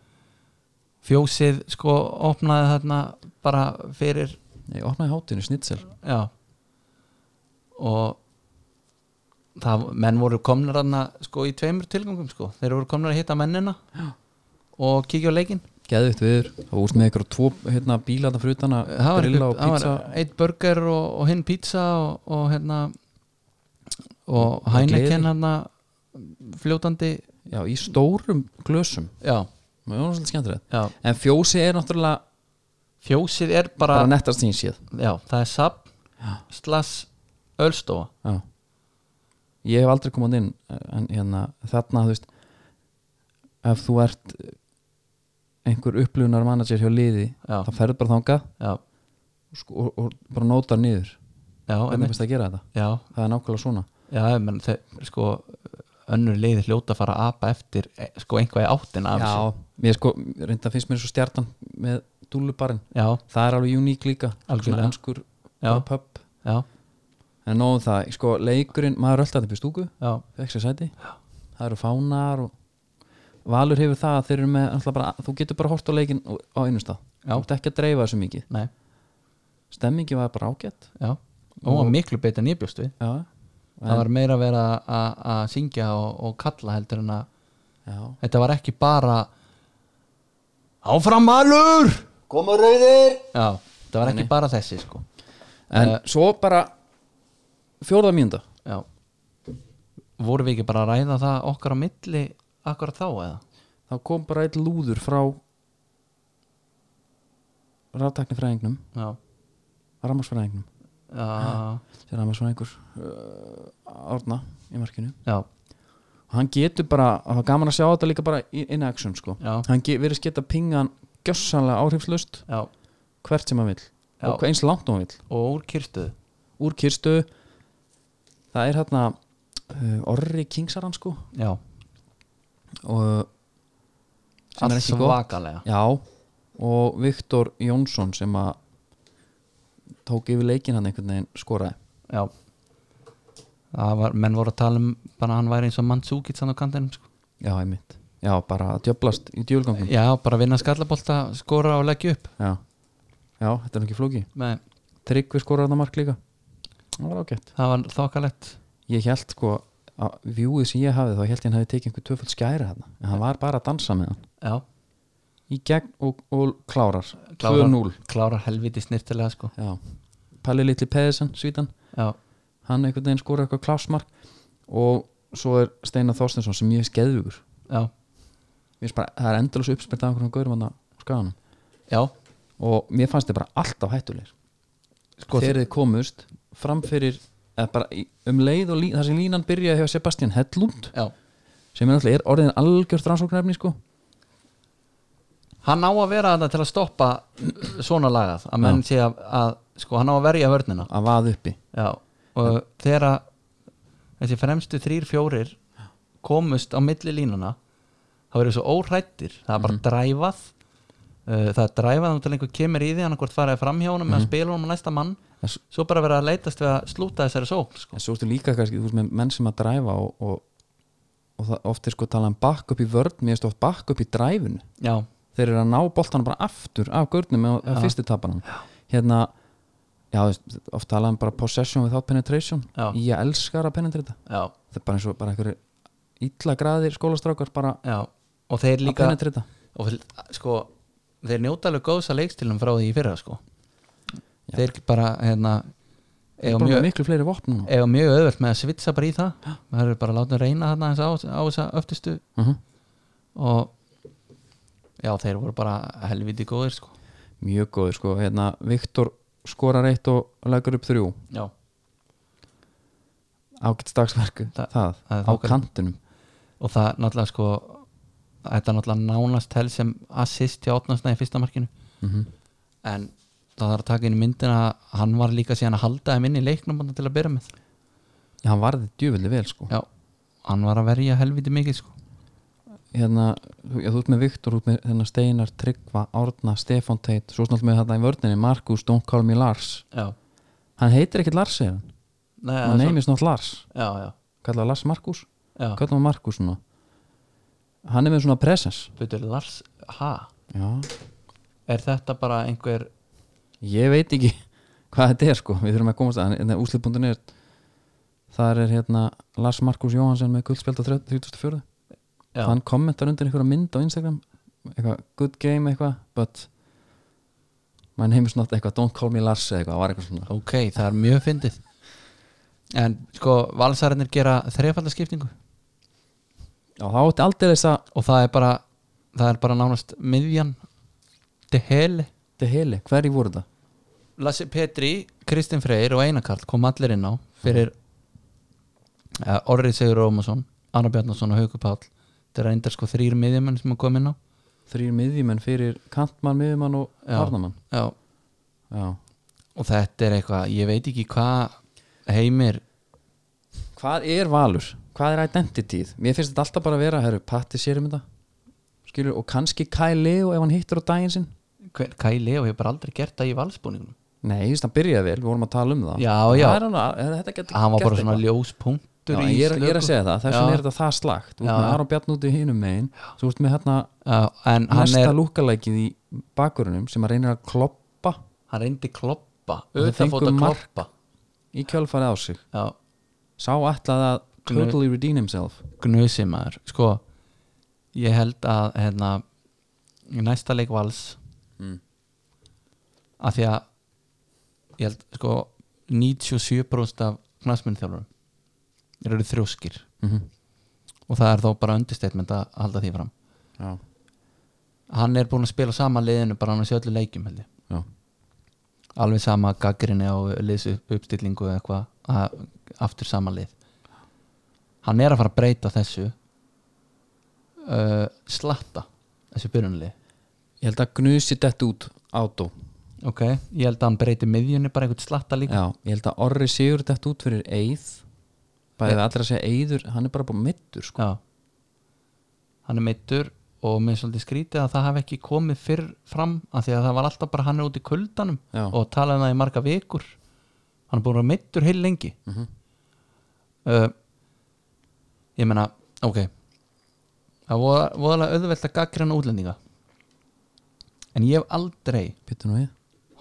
Speaker 2: fjósið sko opnaði þarna bara fyrir
Speaker 1: Nei, opnaði hátinu, snitsel
Speaker 2: já og það, menn voru komnar hana, sko, í tveimur tilgangum sko. þeir voru komnar að hitta mennina já. og kíkja á leikin
Speaker 1: geðvitt viður, það úrst með ykkur og tvo hérna, bíla þarna fyrir utan að
Speaker 2: það var,
Speaker 1: grilla
Speaker 2: einhver-
Speaker 1: og
Speaker 2: það
Speaker 1: pizza
Speaker 2: var eitt burger og, og hinn pizza og, og hérna og
Speaker 1: Og gleði.
Speaker 2: hænleikinn hana fljótandi
Speaker 1: já, í stórum glösum
Speaker 2: já,
Speaker 1: það var svolítið skemmtilegt
Speaker 2: já,
Speaker 1: en fjósi er náttúrulega
Speaker 2: fjósið er bara,
Speaker 1: bara nettast þín séð
Speaker 2: já, það er sab slass ölstofa
Speaker 1: já. ég hef aldrei komað inn en hérna, þarna þú veist ef þú ert einhver upplunar manager hjá liði
Speaker 2: Já.
Speaker 1: þá ferð bara þangað
Speaker 2: já,
Speaker 1: sko, og, og bara nótar niður
Speaker 2: já,
Speaker 1: hvernig
Speaker 2: einmitt.
Speaker 1: finnst það að gera þetta,
Speaker 2: já,
Speaker 1: það er nákvæmlega svona
Speaker 2: Já, menn, þeir, sko önnur leiði hljóta að fara að apa eftir eh, sko einhvað í áttina af þessu.
Speaker 1: já, mér sko, reynda finnst mér svo stjartan með dúlubarinn,
Speaker 2: já,
Speaker 1: það er alveg uník líka
Speaker 2: Algjörlega.
Speaker 1: svona ennskur
Speaker 2: já,
Speaker 1: bara pub
Speaker 2: já,
Speaker 1: en nóðum það, sko, leikurinn, maður öll þetta upp í stúku,
Speaker 2: já,
Speaker 1: fekk sér sæti það eru fánar og Valur hefur það að þeir eru með alltaf bara, þú getur bara hort á leikinn og- á einu stað
Speaker 2: Já.
Speaker 1: þú ert ekki að dreifa þessu mikið
Speaker 2: nei,
Speaker 1: stemmingi var bara ágætt
Speaker 2: já og hún var miklu betur en ég bjóst við
Speaker 1: já,
Speaker 2: það var meira að vera að- að syngja og, og kalla heldur en að
Speaker 1: já,
Speaker 2: þetta var ekki bara áfram alur
Speaker 3: Koma rauðir!
Speaker 2: já, þetta var ekki bara þessi sko
Speaker 1: en svo bara fjórða mínúnda
Speaker 2: já vorum við ekki bara að ræða það okkar á milli akkurat þá eða?
Speaker 1: þá kom bara eitt lúður frá ráttaknifræðingnum
Speaker 2: já,
Speaker 1: rammarsfræðingnum
Speaker 2: já,
Speaker 1: sem rammarsfræðingur uh, Árna í markinu
Speaker 2: já,
Speaker 1: og hann getur bara, það var gaman að sjá þetta líka bara í- in action sko
Speaker 2: Já.
Speaker 1: hann ge- virðist geta pingan gjössanlega áhrifslust
Speaker 2: já
Speaker 1: hvert sem hann vill
Speaker 2: Já.
Speaker 1: og hvað eins langt hann vill
Speaker 2: og úr kyrstuð
Speaker 1: úr kyrstu það er hérna uh, orri kingsarann sko
Speaker 2: já,
Speaker 1: og sem er
Speaker 2: allt
Speaker 1: ekki gott
Speaker 2: svakalega
Speaker 1: já, og Viktor Jónsson sem að tók yfir leikinn hann einhvern veginn skoraði
Speaker 2: Já Það var, menn voru að tala um bara hann væri eins og Mandzukic hann á kantinum sko.
Speaker 1: já, einmitt, já, bara að djöblast í djúlgangum
Speaker 2: Já, bara vinna skallabolta skora og leggja upp
Speaker 1: já, já, þetta er nú ekki flóki
Speaker 2: Nei,
Speaker 1: Tryggvi skoraði hann mark líka það var ágætt
Speaker 2: það var þokkalett
Speaker 1: ég held sko að vjúið sem ég hafið þá held ég hann hafi tekið einhver töfald skæra hann en hann var bara að dansa með hann
Speaker 2: Já,
Speaker 1: í gegn og, og klárar
Speaker 2: Klárar.
Speaker 1: 2-0
Speaker 2: klárar helviti snirtilega sko.
Speaker 1: já Palli Litli Pedersen, svítan
Speaker 2: Já,
Speaker 1: hann einhvern veginn skoraði eitthvað klásmark og svo er Steinar Þorstinsson sem ég er skeðugur
Speaker 2: já,
Speaker 1: mér finnst bara, það er endalus uppspyrt af einhverjum gaurum hann á skaganum
Speaker 2: já
Speaker 1: og mér fannst þið bara alltaf hættulegir
Speaker 2: Sko,
Speaker 1: þegar þið komust fram fyrir eða bara í- um leið og lí, þar sem línan byrjaði hjá Sebastian Hedlund
Speaker 2: já
Speaker 1: sem er náttúrulega er orðin algjörst rannsóknarefni sko
Speaker 2: Hann á að vera þetta til að stoppa svona lagað að menn sé að, að sko, hann á að verja vörnina
Speaker 1: að vaða uppi
Speaker 2: Já, og þegar að þessi fremstu þrýr fjórir komust á milli línuna þá verður svo óhrættir það er bara
Speaker 1: Mhm.
Speaker 2: dræfað uh, það er dræfað þá til einhver kemur í því hann hvort faraði framhjá honum mm -hmm. með að spila honum á næsta
Speaker 1: Mhm.
Speaker 2: mann
Speaker 1: En s-
Speaker 2: svo bara vera að leitast við að slúta þessari sókn sko.
Speaker 1: en svo ertu líka kannski þú veist með menn sem að dræfa og, og, og það oft er sko talað um bakk upp í vörn mér erstu oft bakk upp í dræfinu
Speaker 2: já,
Speaker 1: þeir eru að ná boltanum bara aftur af gurnum á ja.
Speaker 2: Já.
Speaker 1: fyrstu tapanum hérna, já, þú veist, oft talað um bara possession without penetration
Speaker 2: Já.
Speaker 1: ég elskar að penetrita
Speaker 2: já,
Speaker 1: það er bara eins og bara einhverju illa graðir skólastrákar bara
Speaker 2: já og þeir
Speaker 1: að
Speaker 2: líka
Speaker 1: penetrita
Speaker 2: og sko, þeir njóta alveg góðs að leikstilum frá því í fyrra sko.
Speaker 1: Já.
Speaker 2: þeir bara hérna,
Speaker 1: þeir
Speaker 2: eiga
Speaker 1: bara
Speaker 2: mjög,
Speaker 1: með miklu fleiri vopn núna
Speaker 2: eiga mjög öðvöld með að svitsa bara í það það eru bara að láta reyna þarna aðeins á, á þessa öftustu
Speaker 1: uh
Speaker 2: og já, þeir voru bara helviti góðir sko.
Speaker 1: mjög góður sko, hérna Viktor skorar eitt og leggur upp þrjú
Speaker 2: já,
Speaker 1: ágætt stagsverku,
Speaker 2: Þa-
Speaker 1: það,
Speaker 2: það er
Speaker 1: á
Speaker 2: þokkar-
Speaker 1: kantinum
Speaker 2: og það náttúrulega sko þetta náttúrulega nánast tel sem assist hjá átnarsna í fyrsta markinu
Speaker 1: mm
Speaker 2: Mhm. en það þarf að taka inn í myndina að hann var líka síðan að halda þeim inn í leiknum þarna til að byrja með
Speaker 1: já, hann varði djúvillig vel sko
Speaker 2: já, hann var að verja helviti mikið sko.
Speaker 1: hérna, þú, já, þú ert með Viktor út með hérna, Steinar, Tryggva, Árna, Stefán Teit svo snátt með þetta í vörninni, Markus Don't Call Me Lars,
Speaker 2: já,
Speaker 1: hann heitir ekkit Lars segir hann,
Speaker 2: Nei,
Speaker 1: hann
Speaker 2: svo-
Speaker 1: neymir snátt Lars
Speaker 2: já, já,
Speaker 1: kallar Lars Markus,
Speaker 2: já.
Speaker 1: kallar hann Markus svona hann er með svona presens
Speaker 2: Byrju, Lars H
Speaker 1: já,
Speaker 2: er þetta bara einhver
Speaker 1: ég veit ekki hvað þetta er sko, við þurfum að komast að hérna, úslið.ne þar er hérna Lars Markus Jóhansson með guldspjald á 34
Speaker 2: já,
Speaker 1: hann kommentar undir einhverja mynd á Instagram eitthvað, good game eitthvað but my name is not eitthvað, don't call me Lars eða eitthvað, var eitthvað svona
Speaker 2: ok, það er mjög fyndið en sko valsarinnir gera þrefaldaskiptingu
Speaker 1: og þá átti aldrei þess að
Speaker 2: og það er bara það er bara nánast miðjan De Hele,
Speaker 1: þetta heili, hverji voru þetta?
Speaker 2: Lassi Petri Kristinn Freyr og Einar Karl kom allir inn á fyrir uh, Orri Sigur Rómason Anna Bjarnason og Hauku Páll þetta er reyndar sko þrýr miðjumenn sem að koma inn á
Speaker 1: þrýr miðjumenn fyrir kantmann, miðjumann og
Speaker 2: Já.
Speaker 1: harnamann
Speaker 2: Já.
Speaker 1: já.
Speaker 2: og þetta er eitthvað, ég veit ekki hvað heimir
Speaker 1: hvað er valur? hvað er identityð? mér finnst þetta alltaf bara að vera, herru, patti sér um þetta skilur, og kannski Kyle Leo ef hann hittur á daginn sinn
Speaker 2: hver- Kai Leo hefur bara aldrei gert það í valsbúningunum
Speaker 1: nei, ég finnst hann byrjaði vel, við vorum að tala um það
Speaker 2: Já,
Speaker 1: Það
Speaker 2: já.
Speaker 1: er alveg- er þetta getur
Speaker 2: hann var
Speaker 1: gert
Speaker 2: bara svona
Speaker 1: eitthvað.
Speaker 2: ljóspunktur
Speaker 1: Já,
Speaker 2: í
Speaker 1: ég, er, ég er að
Speaker 2: slöku.
Speaker 1: segja það, þess vegna
Speaker 2: Já.
Speaker 1: er þetta það slagt Þú ert
Speaker 2: Já.
Speaker 1: með Aron Bjarn út í hinum megin Þú ert með hérna
Speaker 2: Já, en hann
Speaker 1: næsta
Speaker 2: er,
Speaker 1: lúkalækið í bakurunum sem að reynir að kloppa
Speaker 2: hann reyndi kloppa
Speaker 1: þeir
Speaker 2: auðvitafóta
Speaker 1: fengu mark.
Speaker 2: kloppa
Speaker 1: í kjölfarið á sig
Speaker 2: já,
Speaker 1: Sá ætlaði að
Speaker 2: Nei.
Speaker 1: totally redeem himself
Speaker 2: gnusi maður sko, ég held að hérna, í næsta leik vals
Speaker 1: Mm.
Speaker 2: af því að ég held sko 97% af knastmyndþjálfurum eru þrjóskir
Speaker 1: mm
Speaker 2: og það er þó bara understatement að halda því fram
Speaker 1: Já,
Speaker 2: hann er búin að spila á sama liðinu bara hann að sé öllu leikjum held ég
Speaker 1: já,
Speaker 2: alveg sama gaggrinni á liðs uppstillingu eða eitthvað að- aftur sama lið hann er að fara að breyta þessu uh, slatta þessu byrjunlið
Speaker 1: ég held að gnusi dett út átó
Speaker 2: ok, ég held að hann breyti miðjunni bara einhvern slatta líka
Speaker 1: Já, ég held að Orri Sigur dett út fyrir Eið Bæðið allir að segja Eiður, hann er bara búin mittur sko.
Speaker 2: Já. hann er meittur og mér er svolítið skrítið að það hafi ekki komið fyrr fram af því að það var alltaf bara hann er út í kuldanum
Speaker 1: Já.
Speaker 2: og talaði um það í marga vikur hann er búin að vera meittur heil lengi
Speaker 1: Mhm.
Speaker 2: uh, ég meina ok það voða- voðalega auðvelt að gaggrina útlendinga en ég hef aldrei
Speaker 1: Pittu nú við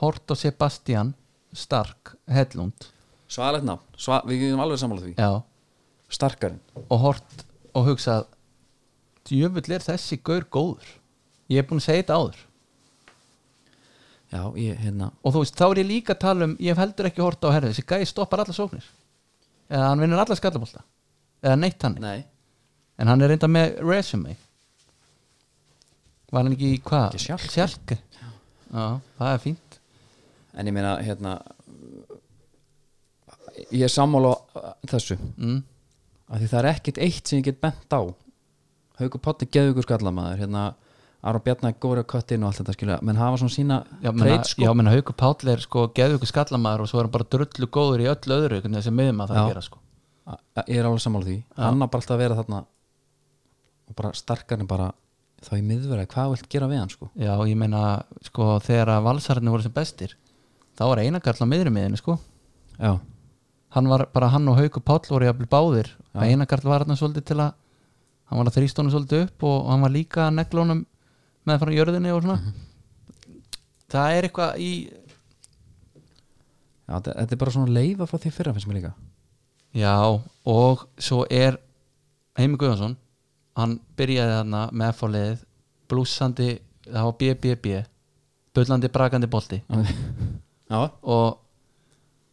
Speaker 2: hort á Sebastian Stark Hedlund
Speaker 1: Svaðalegt ná, Sva, við erum alveg sammála því
Speaker 2: Já.
Speaker 1: Starkarinn
Speaker 2: og hort og hugsað djöfull er þessi gaur góður ég er búin að segja þetta áður
Speaker 1: Já, ég, hérna
Speaker 2: og þú veist, þá er ég líka að tala um ég hef heldur ekki hort á herðu, þessi gæi stoppar alla sóknir eða hann vinnur alla skallabólta eða neitt hann,
Speaker 1: Nei,
Speaker 2: en hann er reynda með resume var hann ekki í hvað?
Speaker 1: Ekki Schalke.
Speaker 2: Schalke. já, það er fínt
Speaker 1: En ég meina, hérna Ég er sammála á þessu
Speaker 2: mm.
Speaker 1: af því það er ekkit eitt sem ég get bent á Haukur Potti geðugur skallamæður hérna Aron Bjarnar góri á köttin og allt þetta skilja menn hafa svona sína
Speaker 2: já, menna,
Speaker 1: treyt sko
Speaker 2: já, menna Haukur Páll er sko geðu ykkur skallamaður og svo er hann bara drullu góður í öllu öðru einhvern veginn sem miðum að það
Speaker 1: Já.
Speaker 2: gera sko
Speaker 1: A- ég er alveg sammála því hann á bara alltaf að vera þarna og bara starkarinn bara þá í miðverða, hvað vilt gera við hann sko
Speaker 2: Já, ég meina, sko, þegar að valsararnir voru sem bestir þá var eina karl á miðri miðinu sko
Speaker 1: já,
Speaker 2: hann var bara hann og Hauku Páll voru jafnvel báðir
Speaker 1: Já.
Speaker 2: að eina karl var hann svolítið til að hann var að þrýstónu svolítið upp og hann var líka að negla honum með frá jörðinni og svona það er eitthvað í
Speaker 1: já þetta, þetta er bara svona leifa frá því fyrra finnst mér líka
Speaker 2: já og svo er Heimi Guðjónsson hann byrjaði þarna með fóliðið blúsandi, það var BBB bullandi brakandi bolti
Speaker 1: já,
Speaker 2: og,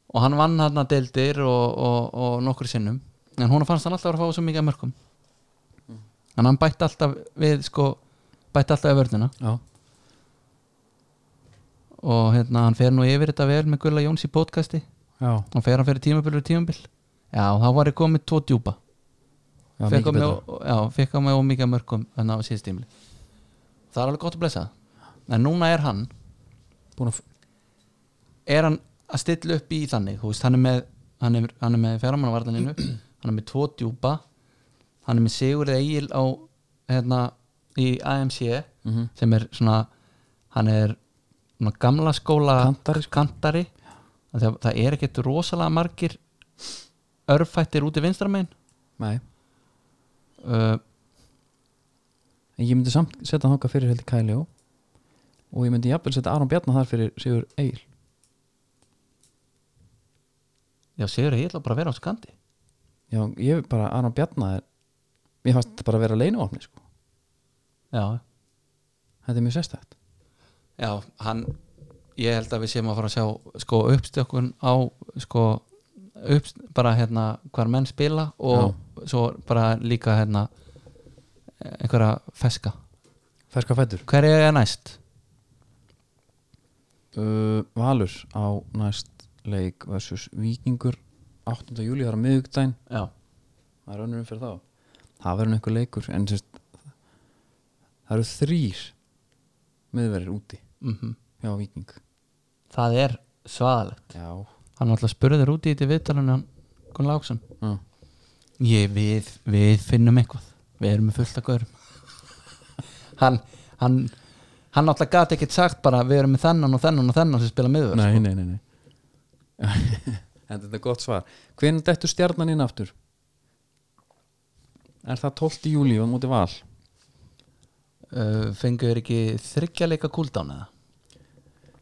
Speaker 2: og hann vann hann að deildir og, og, og nokkur sinnum en hún fannst hann alltaf að fara að fá svo mikið að mörgum en hann bætti alltaf við sko, bætti alltaf við vörnina
Speaker 1: já,
Speaker 2: og hérna hann fer nú yfir þetta vel með Gulla Jóns í podcasti
Speaker 1: já,
Speaker 2: og fer hann fyrir tímabil og tímabil já, þá var ég komið tvo djúpa
Speaker 1: já mikið
Speaker 2: fekk hann,
Speaker 1: betra
Speaker 2: með, já, fekk hann með ómikið að mörgum en á síðast tímli það er alveg gott að blessa það en núna er hann
Speaker 1: búin að, f-
Speaker 2: er hann að stilla upp í þannig þú veist, hann er með, hann er, hann er með fjármánavardaninu hann er með tvo djúpa hann er með Sigurð Egil á hérna í AMC
Speaker 1: Mhm.
Speaker 2: sem er svona hann er svona gamla skóla
Speaker 1: Kantari, sko.
Speaker 2: kantari. Af því að það er ekkert rosalega margir örfættir úti vinstramein
Speaker 1: nei,
Speaker 2: uh,
Speaker 1: en ég myndi samt setja hann fyrir heldur Kæli og ég myndi jafnvel setja Aron Bjarnar þar fyrir Sigur Egil
Speaker 2: já Sigurð Egil á bara að vera á skandi
Speaker 1: já, ég er bara Aron Bjarnar er, mér fannst þetta bara að vera leinuvopni sko.
Speaker 2: já,
Speaker 1: þetta er mjög sérstætt
Speaker 2: já hann, ég held að við séum að fara að sjá sko uppstökkun á sko uppst, bara hérna hvar menn spila og svo bara líka hérna einhverja feska
Speaker 1: ferska fættur
Speaker 2: hver er ég næst?
Speaker 1: uh, Valur á næst leik versus Víkingur 8. júli, það er á miðugdæn
Speaker 2: já,
Speaker 1: það er önnurum fyrir þá það verður nú einhver leikur en sérst, það eru þrýr miðverðir úti
Speaker 2: mm
Speaker 1: hjá Víking
Speaker 2: það er svaðalegt
Speaker 1: já,
Speaker 2: hann alltaf spurður út í þetta viðtalinu hann Gunn Láksson
Speaker 1: já.
Speaker 2: ég, við, við finnum eitthvað við erum með fullt að gaurum hann, hann hann alltaf gati ekkert sagt bara við erum með þennan og þennan og þennan sem spila miður
Speaker 1: nei, nei, nei, nei. en sko. þetta er gott svar hvernig dettur stjarnan inn aftur? er það 12. júli og móti val?
Speaker 2: uh, fengu þér ekki þryggjarleika kúldán eða?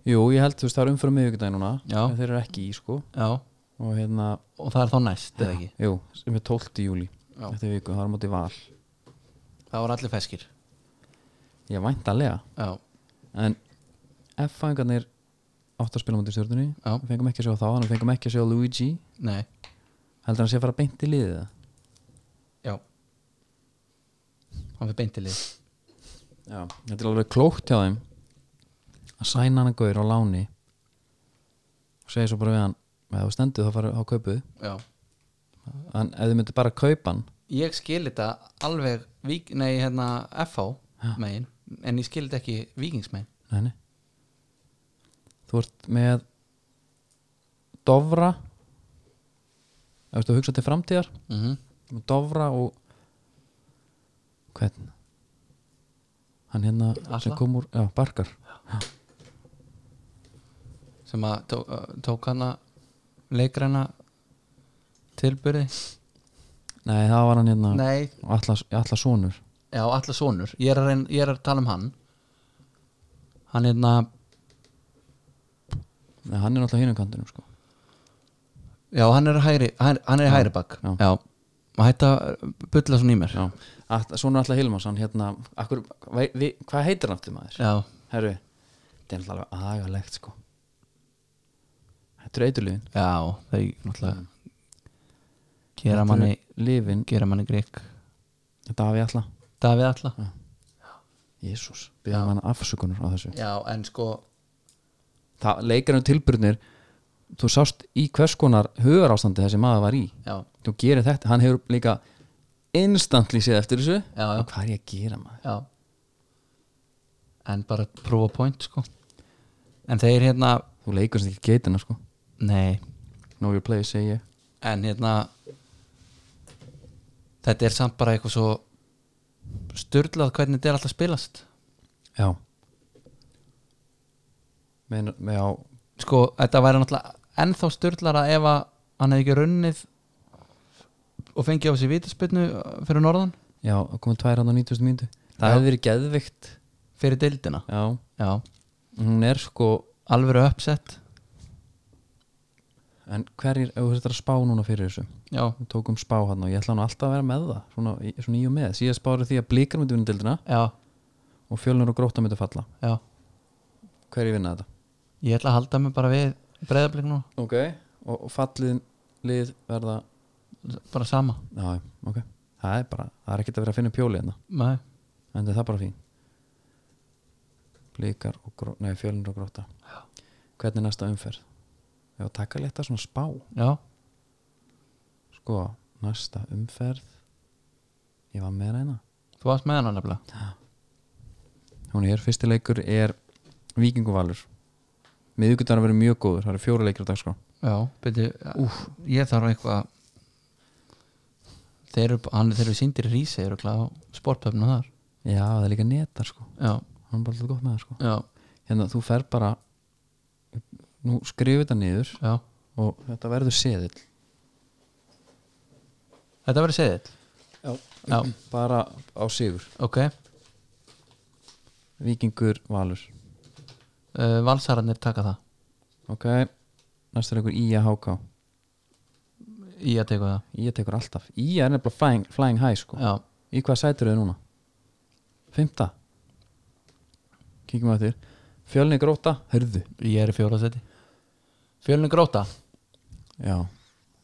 Speaker 1: jú, ég held þú veist það er umfram miðugdæn núna
Speaker 2: Já.
Speaker 1: en þeir eru ekki í sko
Speaker 2: Já,
Speaker 1: og hérna,
Speaker 2: og það er þá næst eða ekki?
Speaker 1: jú, sem er 12. júli
Speaker 2: Já.
Speaker 1: þetta viku, það er á móti val
Speaker 2: Það voru allir feskir
Speaker 1: ég væntalega
Speaker 2: Já,
Speaker 1: en F-fæðingarnir átt að spila mútið stjórnunni
Speaker 2: Já.
Speaker 1: við fengum ekki að sjá þá, þannig við fengum ekki að sjá Luigi
Speaker 2: nei,
Speaker 1: heldur hann sé að fara beint í liðið það
Speaker 2: já Hann fyrir beintilið
Speaker 1: já, þetta er alveg klókt hjá þeim að sæna hann að gauður á láni og segja svo bara við hann eða þú stendur þá farið á kaupuð
Speaker 2: Já Mhm.
Speaker 1: en ef þið myndir bara kaupa hann
Speaker 2: Ég skil þetta alveg vík, nei, hérna, FH megin en ég skil þetta ekki vikingsmein
Speaker 1: nei, nei. þú ert með Dovra ef þú ert að hugsa til framtíðar
Speaker 2: mm -hmm.
Speaker 1: og Dovra og hvern hann hérna sem
Speaker 2: Atla?
Speaker 1: kom úr, já, Barkar
Speaker 2: sem að tó, uh, tók hana leikræna tilbyrði
Speaker 1: nei, það var hann hérna
Speaker 2: Nei,
Speaker 1: Atlas, Atlas Sónur
Speaker 2: Já, allar sonur ég er, að reyna, ég er að tala um hann Hann hérna
Speaker 1: nei, hann er alltaf hinum kantinum sko
Speaker 2: Já, hann er hægri Hann, hann er hægri bakk
Speaker 1: já.
Speaker 2: Já Má hætta að bulla svona í mér
Speaker 1: já, At, Sónur Atla Hilmars hann hérna, akkur, vi, vi, hvað heitir hann aftur maður?
Speaker 2: Já,
Speaker 1: herru, þetta er alltaf alveg agalegt sko þetta er eiturliðin
Speaker 2: já þau
Speaker 1: Mm.
Speaker 2: náttúrulega gera manni
Speaker 1: lifin,
Speaker 2: gera manni grík
Speaker 1: þetta hafi Atla
Speaker 2: Davíð alla
Speaker 1: Jésús, byrðum hann afsökunar á þessu
Speaker 2: Já, en sko
Speaker 1: það leikir um tilbyrnir þú sást í hvers konar högar ástandi þessi maður var í
Speaker 2: Já,
Speaker 1: þú gerir þetta, hann hefur líka instantly séð eftir þessu
Speaker 2: já, já,
Speaker 1: og hvað er ég að gera maður
Speaker 2: já. En bara prova point sko En þeir hérna
Speaker 1: þú leikur sem ekki geitina sko
Speaker 2: Nei,
Speaker 1: know your place segi ég
Speaker 2: en hérna þetta er samt bara eitthvað svo styrlað hvernig þetta er alltaf spilast
Speaker 1: já með, með á
Speaker 2: sko, þetta væri náttúrulega ennþá styrlara ef að hann hefði ekki runnið og fengið á sig vítaspyrnu uh, fyrir norðan,
Speaker 1: já, það komið tvær hann á 90. mínútu það
Speaker 2: Já.
Speaker 1: hefði verið geðvikt
Speaker 2: fyrir deildina
Speaker 1: já,
Speaker 2: já,
Speaker 1: hún er sko
Speaker 2: alvöru uppsett
Speaker 1: en hverjir, ef þú þetta að spá núna fyrir þessu
Speaker 2: já,
Speaker 1: við tókum spá hann og ég ætla hann alltaf að vera með það svona, í- svona í og með, síðan spáður því að blíkar myndi vinna dildina
Speaker 2: já,
Speaker 1: og fjölnur og gróta myndi falla
Speaker 2: já
Speaker 1: hverjir vinna þetta?
Speaker 2: ég ætla að halda mig bara við breyðablik nú,
Speaker 1: ok, og, og fallið lið verða,
Speaker 2: bara sama
Speaker 1: já, já, ok það er bara, það er ekkert að vera að finna pjóli hérna
Speaker 2: Nei.
Speaker 1: en það er bara fín blíkar og gró, nei, fjölnur og gróta hvernig er næsta umferð? já, taka létta svona spá
Speaker 2: já,
Speaker 1: sko, næsta umferð ég var með reyna
Speaker 2: þú varst með hana nefnilega
Speaker 1: hún er, fyrsti leikur er vikinguvalur miðvíkudagur verið mjög góður, það eru fjóra leikir á sko. dagskrá
Speaker 2: já, byrju, úf, ég þarf eitthvað þeir eru, hann, þeir eru síndir í rísi eru kláð á sportpöfnu þar
Speaker 1: já, það er líka netar sko,
Speaker 2: já,
Speaker 1: hann er bara alltaf gott með það sko
Speaker 2: já,
Speaker 1: hérna, þú fer bara nú skrifu þetta niður
Speaker 2: já
Speaker 1: og þetta verður seðill
Speaker 2: þetta verður seðill,
Speaker 1: já.
Speaker 2: Já.
Speaker 1: bara á sigur
Speaker 2: ok
Speaker 1: vikingur valur,
Speaker 2: uh, Valsararnir taka það
Speaker 1: ok næsta leikur Ía HK
Speaker 2: í að teka það
Speaker 1: Ía tekur alltaf, Ía er nefnilega flying, flying high sko
Speaker 2: já,
Speaker 1: Í hvað sætur þau núna? Fymta Kíkjum að þér Fjölni gróta, hörðu
Speaker 2: ég er í fjóra seti fjölni gróta
Speaker 1: Já,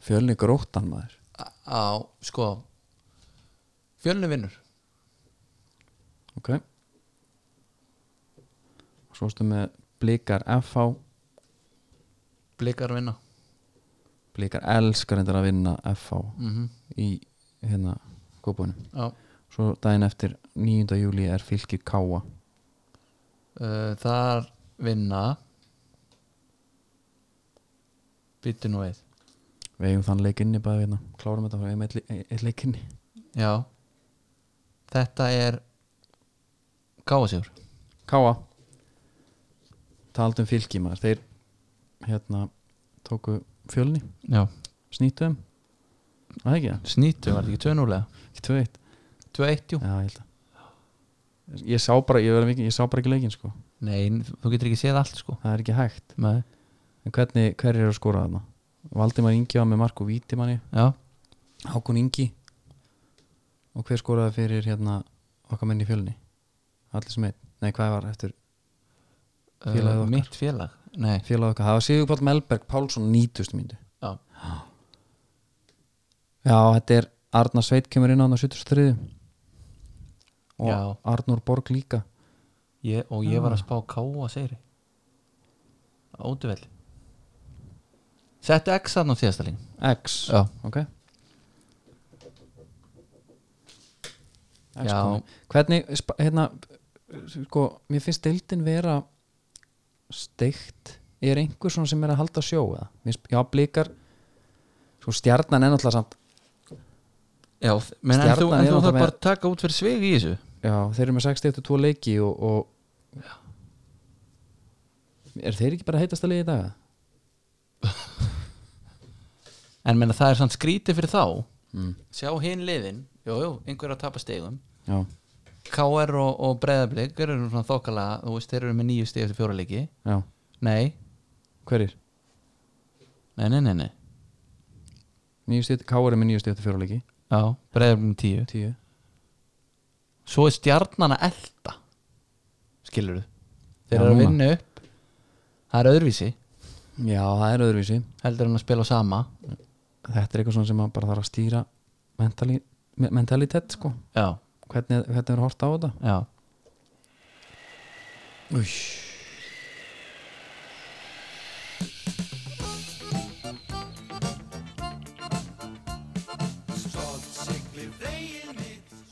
Speaker 1: fjölni grótan maður
Speaker 2: á, sko fjölni vinnur
Speaker 1: Ok Svo stu með blikar FH
Speaker 2: blikar vinna
Speaker 1: Blikar elskar endur að vinna FH
Speaker 2: mm
Speaker 1: Í hérna kópunum
Speaker 2: já,
Speaker 1: Svo daginn eftir 9. júli er fylgir Káa
Speaker 2: uh, þar vinna byttu nú við
Speaker 1: Við eigum þann leikinni bara hérna Klárum þetta frá eigum eitt, eitt, eitt leikinni
Speaker 2: já þetta er káasjór
Speaker 1: Káa Taldum fylki um maður Þeir hérna tóku fjölni
Speaker 2: já,
Speaker 1: Snýttu þeim Það er ekki það,
Speaker 2: snýtu var þetta ekki 2-0
Speaker 1: ekki tvö eitt
Speaker 2: 2-1 jú
Speaker 1: Já, ég held að Ég sá bara, ég, verið, ég sá bara ekki leikin sko
Speaker 2: nei, þú getur ekki séð allt sko
Speaker 1: Það er ekki hægt
Speaker 2: nei,
Speaker 1: En hvernig, hver er að skora þarna? Valdimar Ingi var með Marko Vítimanni
Speaker 2: já,
Speaker 1: Hákon Ingi Og hver skoraði fyrir hérna okkar menn í fjölni? Allir sem einn Nei, hvað var eftir Félagið
Speaker 2: uh,
Speaker 1: okkar.
Speaker 2: mitt félag nei,
Speaker 1: félag okkar? Það var Sigurpáll Melberg Pálsson 90. myndu
Speaker 2: já
Speaker 1: Já, þetta er Arnar Sveit kemur inn á hann á 73 og
Speaker 2: Já.
Speaker 1: Arnur Borg líka
Speaker 2: Ég, og ég var að spá káa segri Óduvel Settu X þarna á síðasta lín
Speaker 1: X,
Speaker 2: Já.
Speaker 1: ok X
Speaker 2: Já.
Speaker 1: komin. Hvernig, spa- hérna sko, mér finnst deildin vera steikt er einhver svona sem er að halda sjó eða? Mér finnst- Já, blikar sko, stjarnan er náttúrulega samt
Speaker 2: Já, menn en
Speaker 1: Stjarnan
Speaker 2: þú,
Speaker 1: er
Speaker 2: en þú
Speaker 1: náttúrulega
Speaker 2: þarf bara að taka út fyrir svig í þessu
Speaker 1: Já, þeir eru með 60 eftir tvo leiki og, og Er þeir ekki bara heitast að leiði í dag?
Speaker 2: En menna það er samt skrítið fyrir þá
Speaker 1: Mm.
Speaker 2: Sjá hinn liðin, jú, jú, einhver er að tapa stegum
Speaker 1: Já,
Speaker 2: KR og, og Breiðablik eru nú svona þokkalega, þú veist, þeir eru með nýju steg eftir fjóra leiki
Speaker 1: já,
Speaker 2: Nei,
Speaker 1: hverjir?
Speaker 2: nei, nei, nei, nei
Speaker 1: Nýju stíð, K.R. er með nýju stíð eftir fjóra leiki
Speaker 2: Já, Breiðablik með tíu
Speaker 1: Tíu
Speaker 2: Svo er stjarnan að elta Skilur þú Þeir
Speaker 1: Já,
Speaker 2: eru að
Speaker 1: núna.
Speaker 2: vinna upp Það er öðruvísi
Speaker 1: Já, það er öðruvísi
Speaker 2: heldur en að spila á sama
Speaker 1: Þetta er eitthvað svona sem maður bara þarf að stýra mentali, me- mentalitet sko
Speaker 2: já,
Speaker 1: Hvernig, hvernig er hort á þetta?
Speaker 2: já,
Speaker 1: Úsh.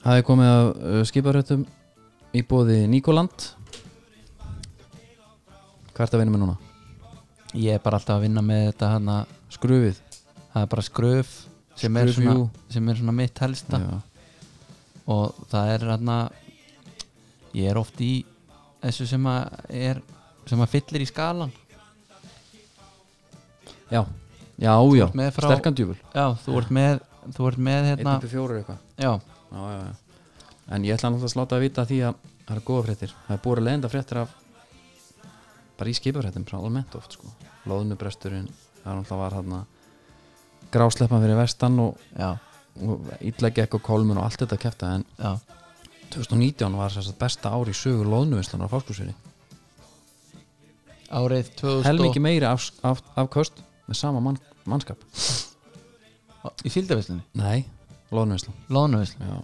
Speaker 1: Það er komið að uh, skiparöttum í bóði Nikoland Hvað ertu að vinna með núna?
Speaker 2: ég er bara alltaf að vinna með þetta hana,
Speaker 1: Skrufið
Speaker 2: það er bara skröf sem er,
Speaker 1: Skröf,
Speaker 2: svona,
Speaker 1: jú.
Speaker 2: sem er svona mitt helsta
Speaker 1: Já.
Speaker 2: og það er hérna, hana, ég er oft í þessu sem að er sem að fyllir í skalan
Speaker 1: já, já, já,
Speaker 2: með frá-
Speaker 1: sterkan djúvul
Speaker 2: já, þú ert með, þú ert með hérna,
Speaker 1: 1.4 eitthvað
Speaker 2: já,
Speaker 1: já, já, já. en ég ætla náttúrulega að sláta að vita því að það eru góða fréttir það er búið að leiðenda fréttir af bara í skipafréttum frá almennt oft sko. loðnubresturinn, það er náttúrulega var þarna grásleppan fyrir vestan og,
Speaker 2: já,
Speaker 1: og illa gekk og kolmun og allt þetta kæfta en
Speaker 2: já
Speaker 1: 2019 var þess að besta ár í sögu loðnuvinslanar á fáskursvinni
Speaker 2: árið 2000
Speaker 1: helmingi meiri af, af, af köst með sama mann, mannskap
Speaker 2: og- í síldavislinni,
Speaker 1: nei, loðnuvinslan
Speaker 2: lónuvislinni
Speaker 1: já,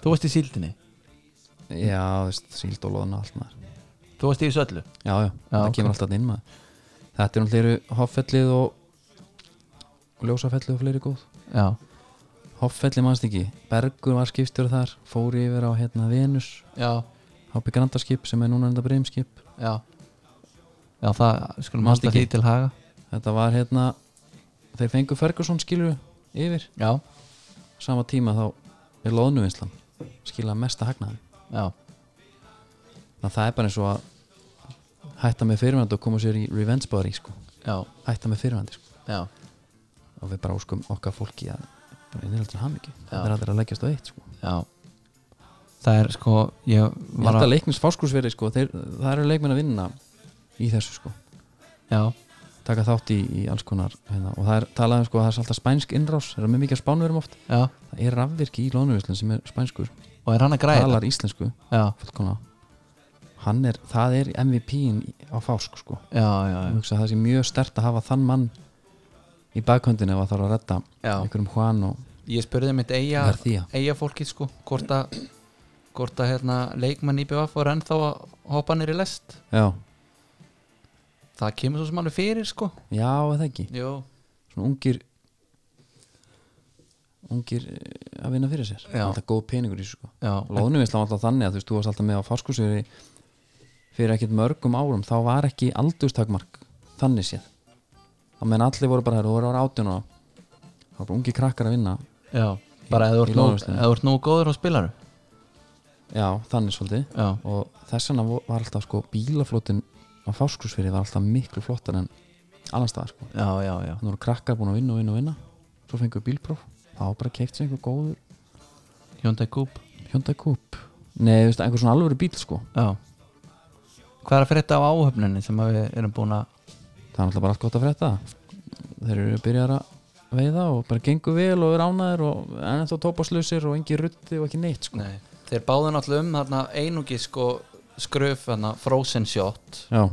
Speaker 2: þú varst í síldinni,
Speaker 1: já þú veist, síld og loðna allt maður
Speaker 2: þú varst í þessu öllu
Speaker 1: já, já, það
Speaker 2: ok.
Speaker 1: kemur alltaf inn maður þetta er náttúrulega hoffellið og, og ljósafellið og fleiri góð
Speaker 2: já,
Speaker 1: hoffellið mannst ekki, Bergur var skipstjóri þar fór yfir á hérna Venus
Speaker 2: já,
Speaker 1: HP Grandarskip sem er núna enda breymskip
Speaker 2: já já, það skulum
Speaker 1: Manstu
Speaker 2: halda
Speaker 1: ekki?
Speaker 2: því til haga
Speaker 1: þetta var hérna þeir fengu Ferguson skilur yfir
Speaker 2: já,
Speaker 1: sama tíma þá er loðnuvinslan skila mesta hagnaði
Speaker 2: já,
Speaker 1: þannig að það er bara eins og að hætta með fyrirvændi og koma sér í revenge body sko.
Speaker 2: já,
Speaker 1: hætta með fyrirvændi sko.
Speaker 2: já
Speaker 1: og við bara óskum okkar fólki að bara innhaldur ham ekki,
Speaker 2: Já.
Speaker 1: það er allir að leggjast á eitt sko.
Speaker 2: já það er sko, ég
Speaker 1: ég
Speaker 2: var
Speaker 1: held
Speaker 2: að
Speaker 1: að leiknins fáskursveri sko, þeir, það eru leikmenn að vinna í þessu sko.
Speaker 2: já,
Speaker 1: taka þátt í, í alls konar hérna. og það er talað um sko, að það er alltaf spænsk innrás það er mjög mikið að spánverum oft
Speaker 2: já,
Speaker 1: það er rafvirki í lónuvislun sem er spænskur
Speaker 2: og er hann að græða
Speaker 1: talar íslensku
Speaker 2: já,
Speaker 1: fullkomlega. hann er, það er MVP-in á fásk sko.
Speaker 2: já, já,
Speaker 1: Ég
Speaker 2: já,
Speaker 1: hugsa að það sé mjög stert að hafa þann mann í bakhöndinu ef að þarf að redda
Speaker 2: já.
Speaker 1: einhverjum Juan og
Speaker 2: ég spurði mitt eiga
Speaker 1: García
Speaker 2: eiga fólkið sko hvort að, hvort að hérna, leikmann í BVF var ennþá að hoppa nýri lest
Speaker 1: já,
Speaker 2: það kemur svo sem alveg fyrir sko
Speaker 1: já eða ekki
Speaker 2: Jú.
Speaker 1: svona ungir ungir eh, að vinna fyrir sér
Speaker 2: Já.
Speaker 1: alltaf góð peningur í þessu sko
Speaker 2: já,
Speaker 1: Lóðnuvisla var alltaf þannig að þú veist, þú varst alltaf með á fáskursveri fyrir ekkert mörgum árum þá var ekki aldurstakmark þannig séð þá menn allir voru bara hér, þú voru ára átján og þá var bara ungi krakkar að vinna
Speaker 2: já. bara
Speaker 1: Í-
Speaker 2: eða þú ert
Speaker 1: í
Speaker 2: nóg-
Speaker 1: lóðarvörslunni.
Speaker 2: ef þú ert nú góður á spilaru
Speaker 1: já, þannig svolítið
Speaker 2: já,
Speaker 1: og þess vegna vo- var alltaf sko bílaflótin á fáskursfyrir var alltaf miklu flottar en annar staðar sko
Speaker 2: já, já, já,
Speaker 1: þannig voru krakkar búin að vinna og vinna og vinna svo fengur bílpróf, þá var bara keift sér einhver góður
Speaker 2: Hyundai Coupe
Speaker 1: Hyundai Coupe nei, þú veist, einhver svona alvöru bíl sko
Speaker 2: já hvað er að fyrir þetta á áhöfninni sem að við erum búin að
Speaker 1: það er alltaf bara allt gott að frétta þeir eru byrjar að veiða og bara gengur vel og eru ánæðir og enn þá tópaslausir og engi rutti og ekki neitt sko
Speaker 2: Nei. þeir báðu náttúrulega um þarna, einungis sko skröf þarna, frozen shot
Speaker 1: já,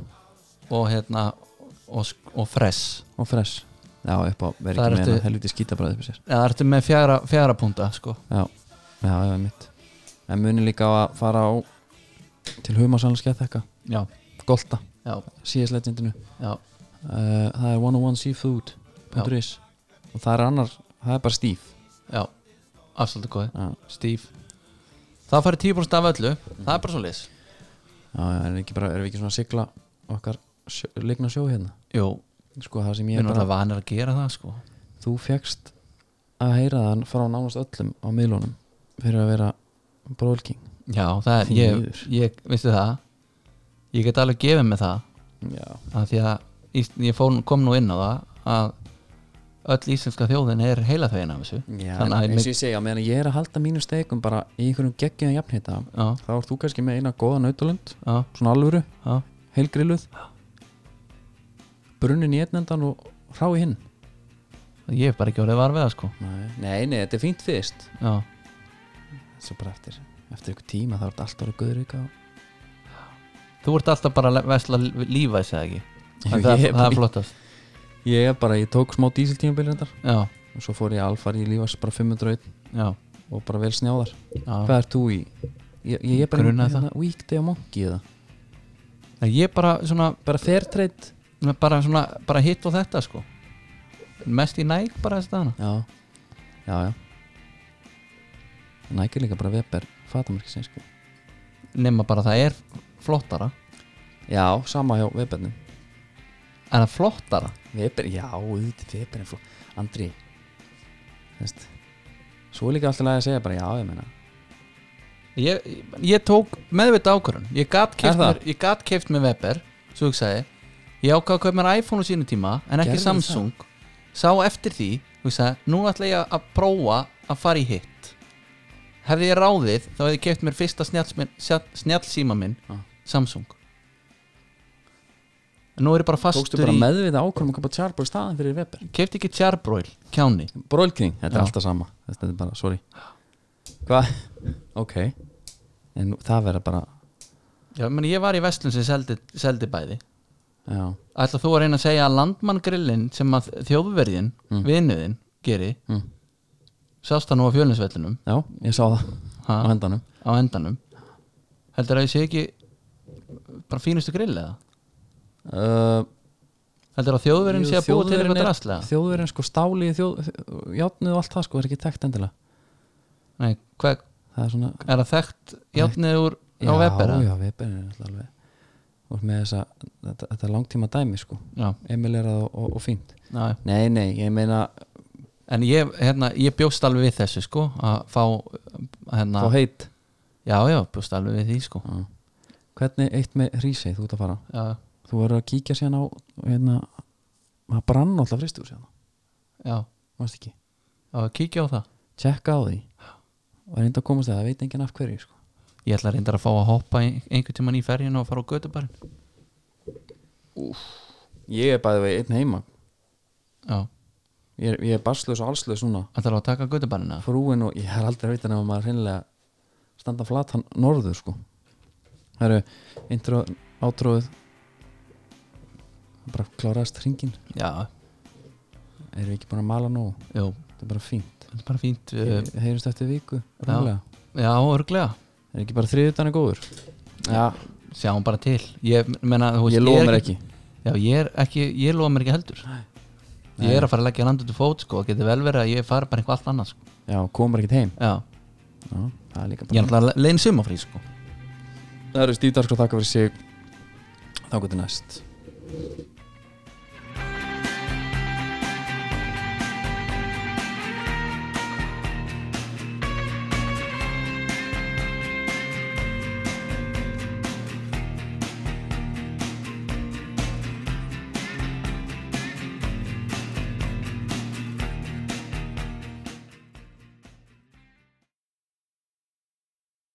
Speaker 2: og hérna og, sk- og fresh
Speaker 1: og fresh já, upp á verið
Speaker 2: Það
Speaker 1: ekki með
Speaker 2: ertu-
Speaker 1: hana, helviti skítabræði upp í sér
Speaker 2: það ertu með fjara, fjara púnta sko
Speaker 1: já, já, já, mitt en muni líka að fara á til humasalans gett eitthvað
Speaker 2: já,
Speaker 1: Golta,
Speaker 2: já,
Speaker 1: CS Legendinu
Speaker 2: já,
Speaker 1: uh, Það er 101seafood.is Og það er annar, það er bara stíf
Speaker 2: já afslutu góði
Speaker 1: Já,
Speaker 2: Steve Það færi 10% af öllu, það er bara svo lis
Speaker 1: já, já erum við ekki, bara, erum við ekki svona að sigla okkar sjö, leikna sjó hérna
Speaker 2: Jú,
Speaker 1: Sko það sem
Speaker 2: við
Speaker 1: ég
Speaker 2: erum
Speaker 1: er bara
Speaker 2: alltaf vanir að gera það sko
Speaker 1: Þú fegst að heyra það frá nánast öllum á miðlunum Fyrir að vera brólking
Speaker 2: Já, það er,
Speaker 1: Því
Speaker 2: ég,
Speaker 1: miður.
Speaker 2: ég veistu það Ég get alveg gefið með það
Speaker 1: Já,
Speaker 2: að Því að Ís- ég fór, kom nú inn á það að öll íslenska þjóðin er heila þegin af þessu
Speaker 1: já
Speaker 2: Þannig að
Speaker 1: eins
Speaker 2: mig-
Speaker 1: og ég segja, meðan ég er að halda mínum steikum bara í einhverjum geggjum jafnhita
Speaker 2: Já,
Speaker 1: Þá ert þú kannski með eina góða nautalönd
Speaker 2: já,
Speaker 1: Svona alvöru,
Speaker 2: já,
Speaker 1: heilgrilluð Brunnin í einn endan og hrá í hinn
Speaker 2: ég hef bara ekki orðið var við það sko
Speaker 1: Nei, nei, nei, þetta er fínt fyrst
Speaker 2: Já,
Speaker 1: Svo bara eftir, eftir ykkur tíma þá er þetta alltaf að guður ykkar
Speaker 2: þú ert alltaf bara að vesla lífa þessi ekki
Speaker 1: Ég-
Speaker 2: En það,
Speaker 1: ég-
Speaker 2: það er flottast
Speaker 1: Ég er bara, ég tók smá dísiltímabili reyndar
Speaker 2: Já,
Speaker 1: og svo fór ég alfar í lífars bara 501
Speaker 2: já,
Speaker 1: og bara vel snjáðar
Speaker 2: já
Speaker 1: Hvað er þú í? Ég, ég er bara
Speaker 2: Grunaði það.
Speaker 1: hérna, weekday á monkey eða
Speaker 2: Ég bara svona
Speaker 1: Bara fairtrade
Speaker 2: Nei, bara, svona, bara hitt og þetta sko mest í næg bara þess að hana
Speaker 1: Já, já, já Nækir líka bara Weber fatamarki sem sko
Speaker 2: nema bara það er flottara
Speaker 1: Já, sama hjá Webernum
Speaker 2: er það flottara
Speaker 1: Weber, já, auðvitað Weber er fló Andri þú veist, Svo er líka alltaf að segja bara já, ég meina
Speaker 2: ég, ég tók meðvita ákvörun ég gat
Speaker 1: Er
Speaker 2: keift
Speaker 1: það?
Speaker 2: mér, ég gat keypt mér Weber svo hugsaði ég ákvað að kaupa mér iPhone á sínu tíma en ekki
Speaker 1: Gerðu
Speaker 2: Samsung sá eftir því, þú veist að nú ætla ég að prófa að fara í hitt hefði ég ráðið þá hefði ég keft mér fyrsta snjallsíma snjall minn
Speaker 1: Ah.
Speaker 2: Samsung en nú er ég bara
Speaker 1: Tókstu
Speaker 2: fastur
Speaker 1: bara
Speaker 2: í
Speaker 1: meðvita ákvörðum að kapa tjálbúr staðan fyrir Weber
Speaker 2: keft ekki tjárbróil, kjáni
Speaker 1: Brólkring, þetta
Speaker 2: Já.
Speaker 1: er alltaf sama Þetta er bara, sorry Hvað? Ok En nú- það verður bara
Speaker 2: Já, meni, ég var í Vestlun sem seldi, seldi bæði
Speaker 1: Já,
Speaker 2: ætla þú að reyna að segja að landmann grillin sem að þjóðverðin,
Speaker 1: Mm.
Speaker 2: vinuðin geri,
Speaker 1: mm.
Speaker 2: sást það nú á fjölinsvellinum
Speaker 1: Já ég sá það
Speaker 2: Ha?
Speaker 1: á hendanum
Speaker 2: á endanum heldur að ég sé ekki bara fínustu grill eða
Speaker 1: uh,
Speaker 2: heldur að þjóðverðin sé að búa til
Speaker 1: Þjóðverjinn
Speaker 2: eitthvað
Speaker 1: er-
Speaker 2: drastlega
Speaker 1: Þjóðverjinn sko stáli í þjóð, Játnið og allt það sko er ekki tekt endilega
Speaker 2: Nei, hva,
Speaker 1: Það er svona
Speaker 2: er það þekkt játnið úr á Weber eða?
Speaker 1: Já, Weber er alltaf alveg Og með þessa, þetta, þetta er langtíma dæmi sko
Speaker 2: já,
Speaker 1: Emilerað og, og, og fínt
Speaker 2: já, já.
Speaker 1: Nei, nei, ég meina
Speaker 2: en ég, hérna, ég bjóst alveg við þessu sko að fá hérna,
Speaker 1: Fá heit
Speaker 2: já já, bjóst alveg við því sko
Speaker 1: Já. Hvernig eitt með hrísið þú ert að fara?
Speaker 2: já,
Speaker 1: Þú verður að kíkja sérna á hérna, maður brann alltaf fristur sérna,
Speaker 2: já,
Speaker 1: mást ekki
Speaker 2: já, kíkja á það
Speaker 1: Tjekka á því og reynda að komast það, það veit enginn af hverju sko.
Speaker 2: ég ætla reyndar að fá að hoppa ein- einhvern tíman í ferjun og fara á götubarinn
Speaker 1: Ég er bæði veginn einn heima
Speaker 2: já,
Speaker 1: Ég er, ég er barslaus og allslaus núna
Speaker 2: ætlar að taka götubarinn eða?
Speaker 1: Frúin og ég er aldrei að vita nefnum maður hreinlega standa flatan norður sko. Það eru intro, átróið bara kláraðast hringin
Speaker 2: já,
Speaker 1: erum við ekki búin að mala nógu
Speaker 2: jú,
Speaker 1: þetta er bara fínt
Speaker 2: þetta er bara fínt uh,
Speaker 1: heyrjumst eftir viku rúmlega.
Speaker 2: já, örglega
Speaker 1: er ekki bara þriðutan er góður já,
Speaker 2: sjáum bara til ég, menna, þú veist,
Speaker 1: ég
Speaker 2: er
Speaker 1: lofa mér ekki
Speaker 2: já, ég, er ekki, ég lofa mér ekki heldur ég er að fara að leggja landið til fót sko, það getur vel verið að ég fari bara eitthvað allt annað sko.
Speaker 1: já, komur ekkert heim
Speaker 2: já,
Speaker 1: já, það er líka
Speaker 2: ég er
Speaker 1: bara
Speaker 2: náttúrulega leiðin sumafrí sko.
Speaker 1: það eru stífdarskóð þakka fyrir sig þá getur næst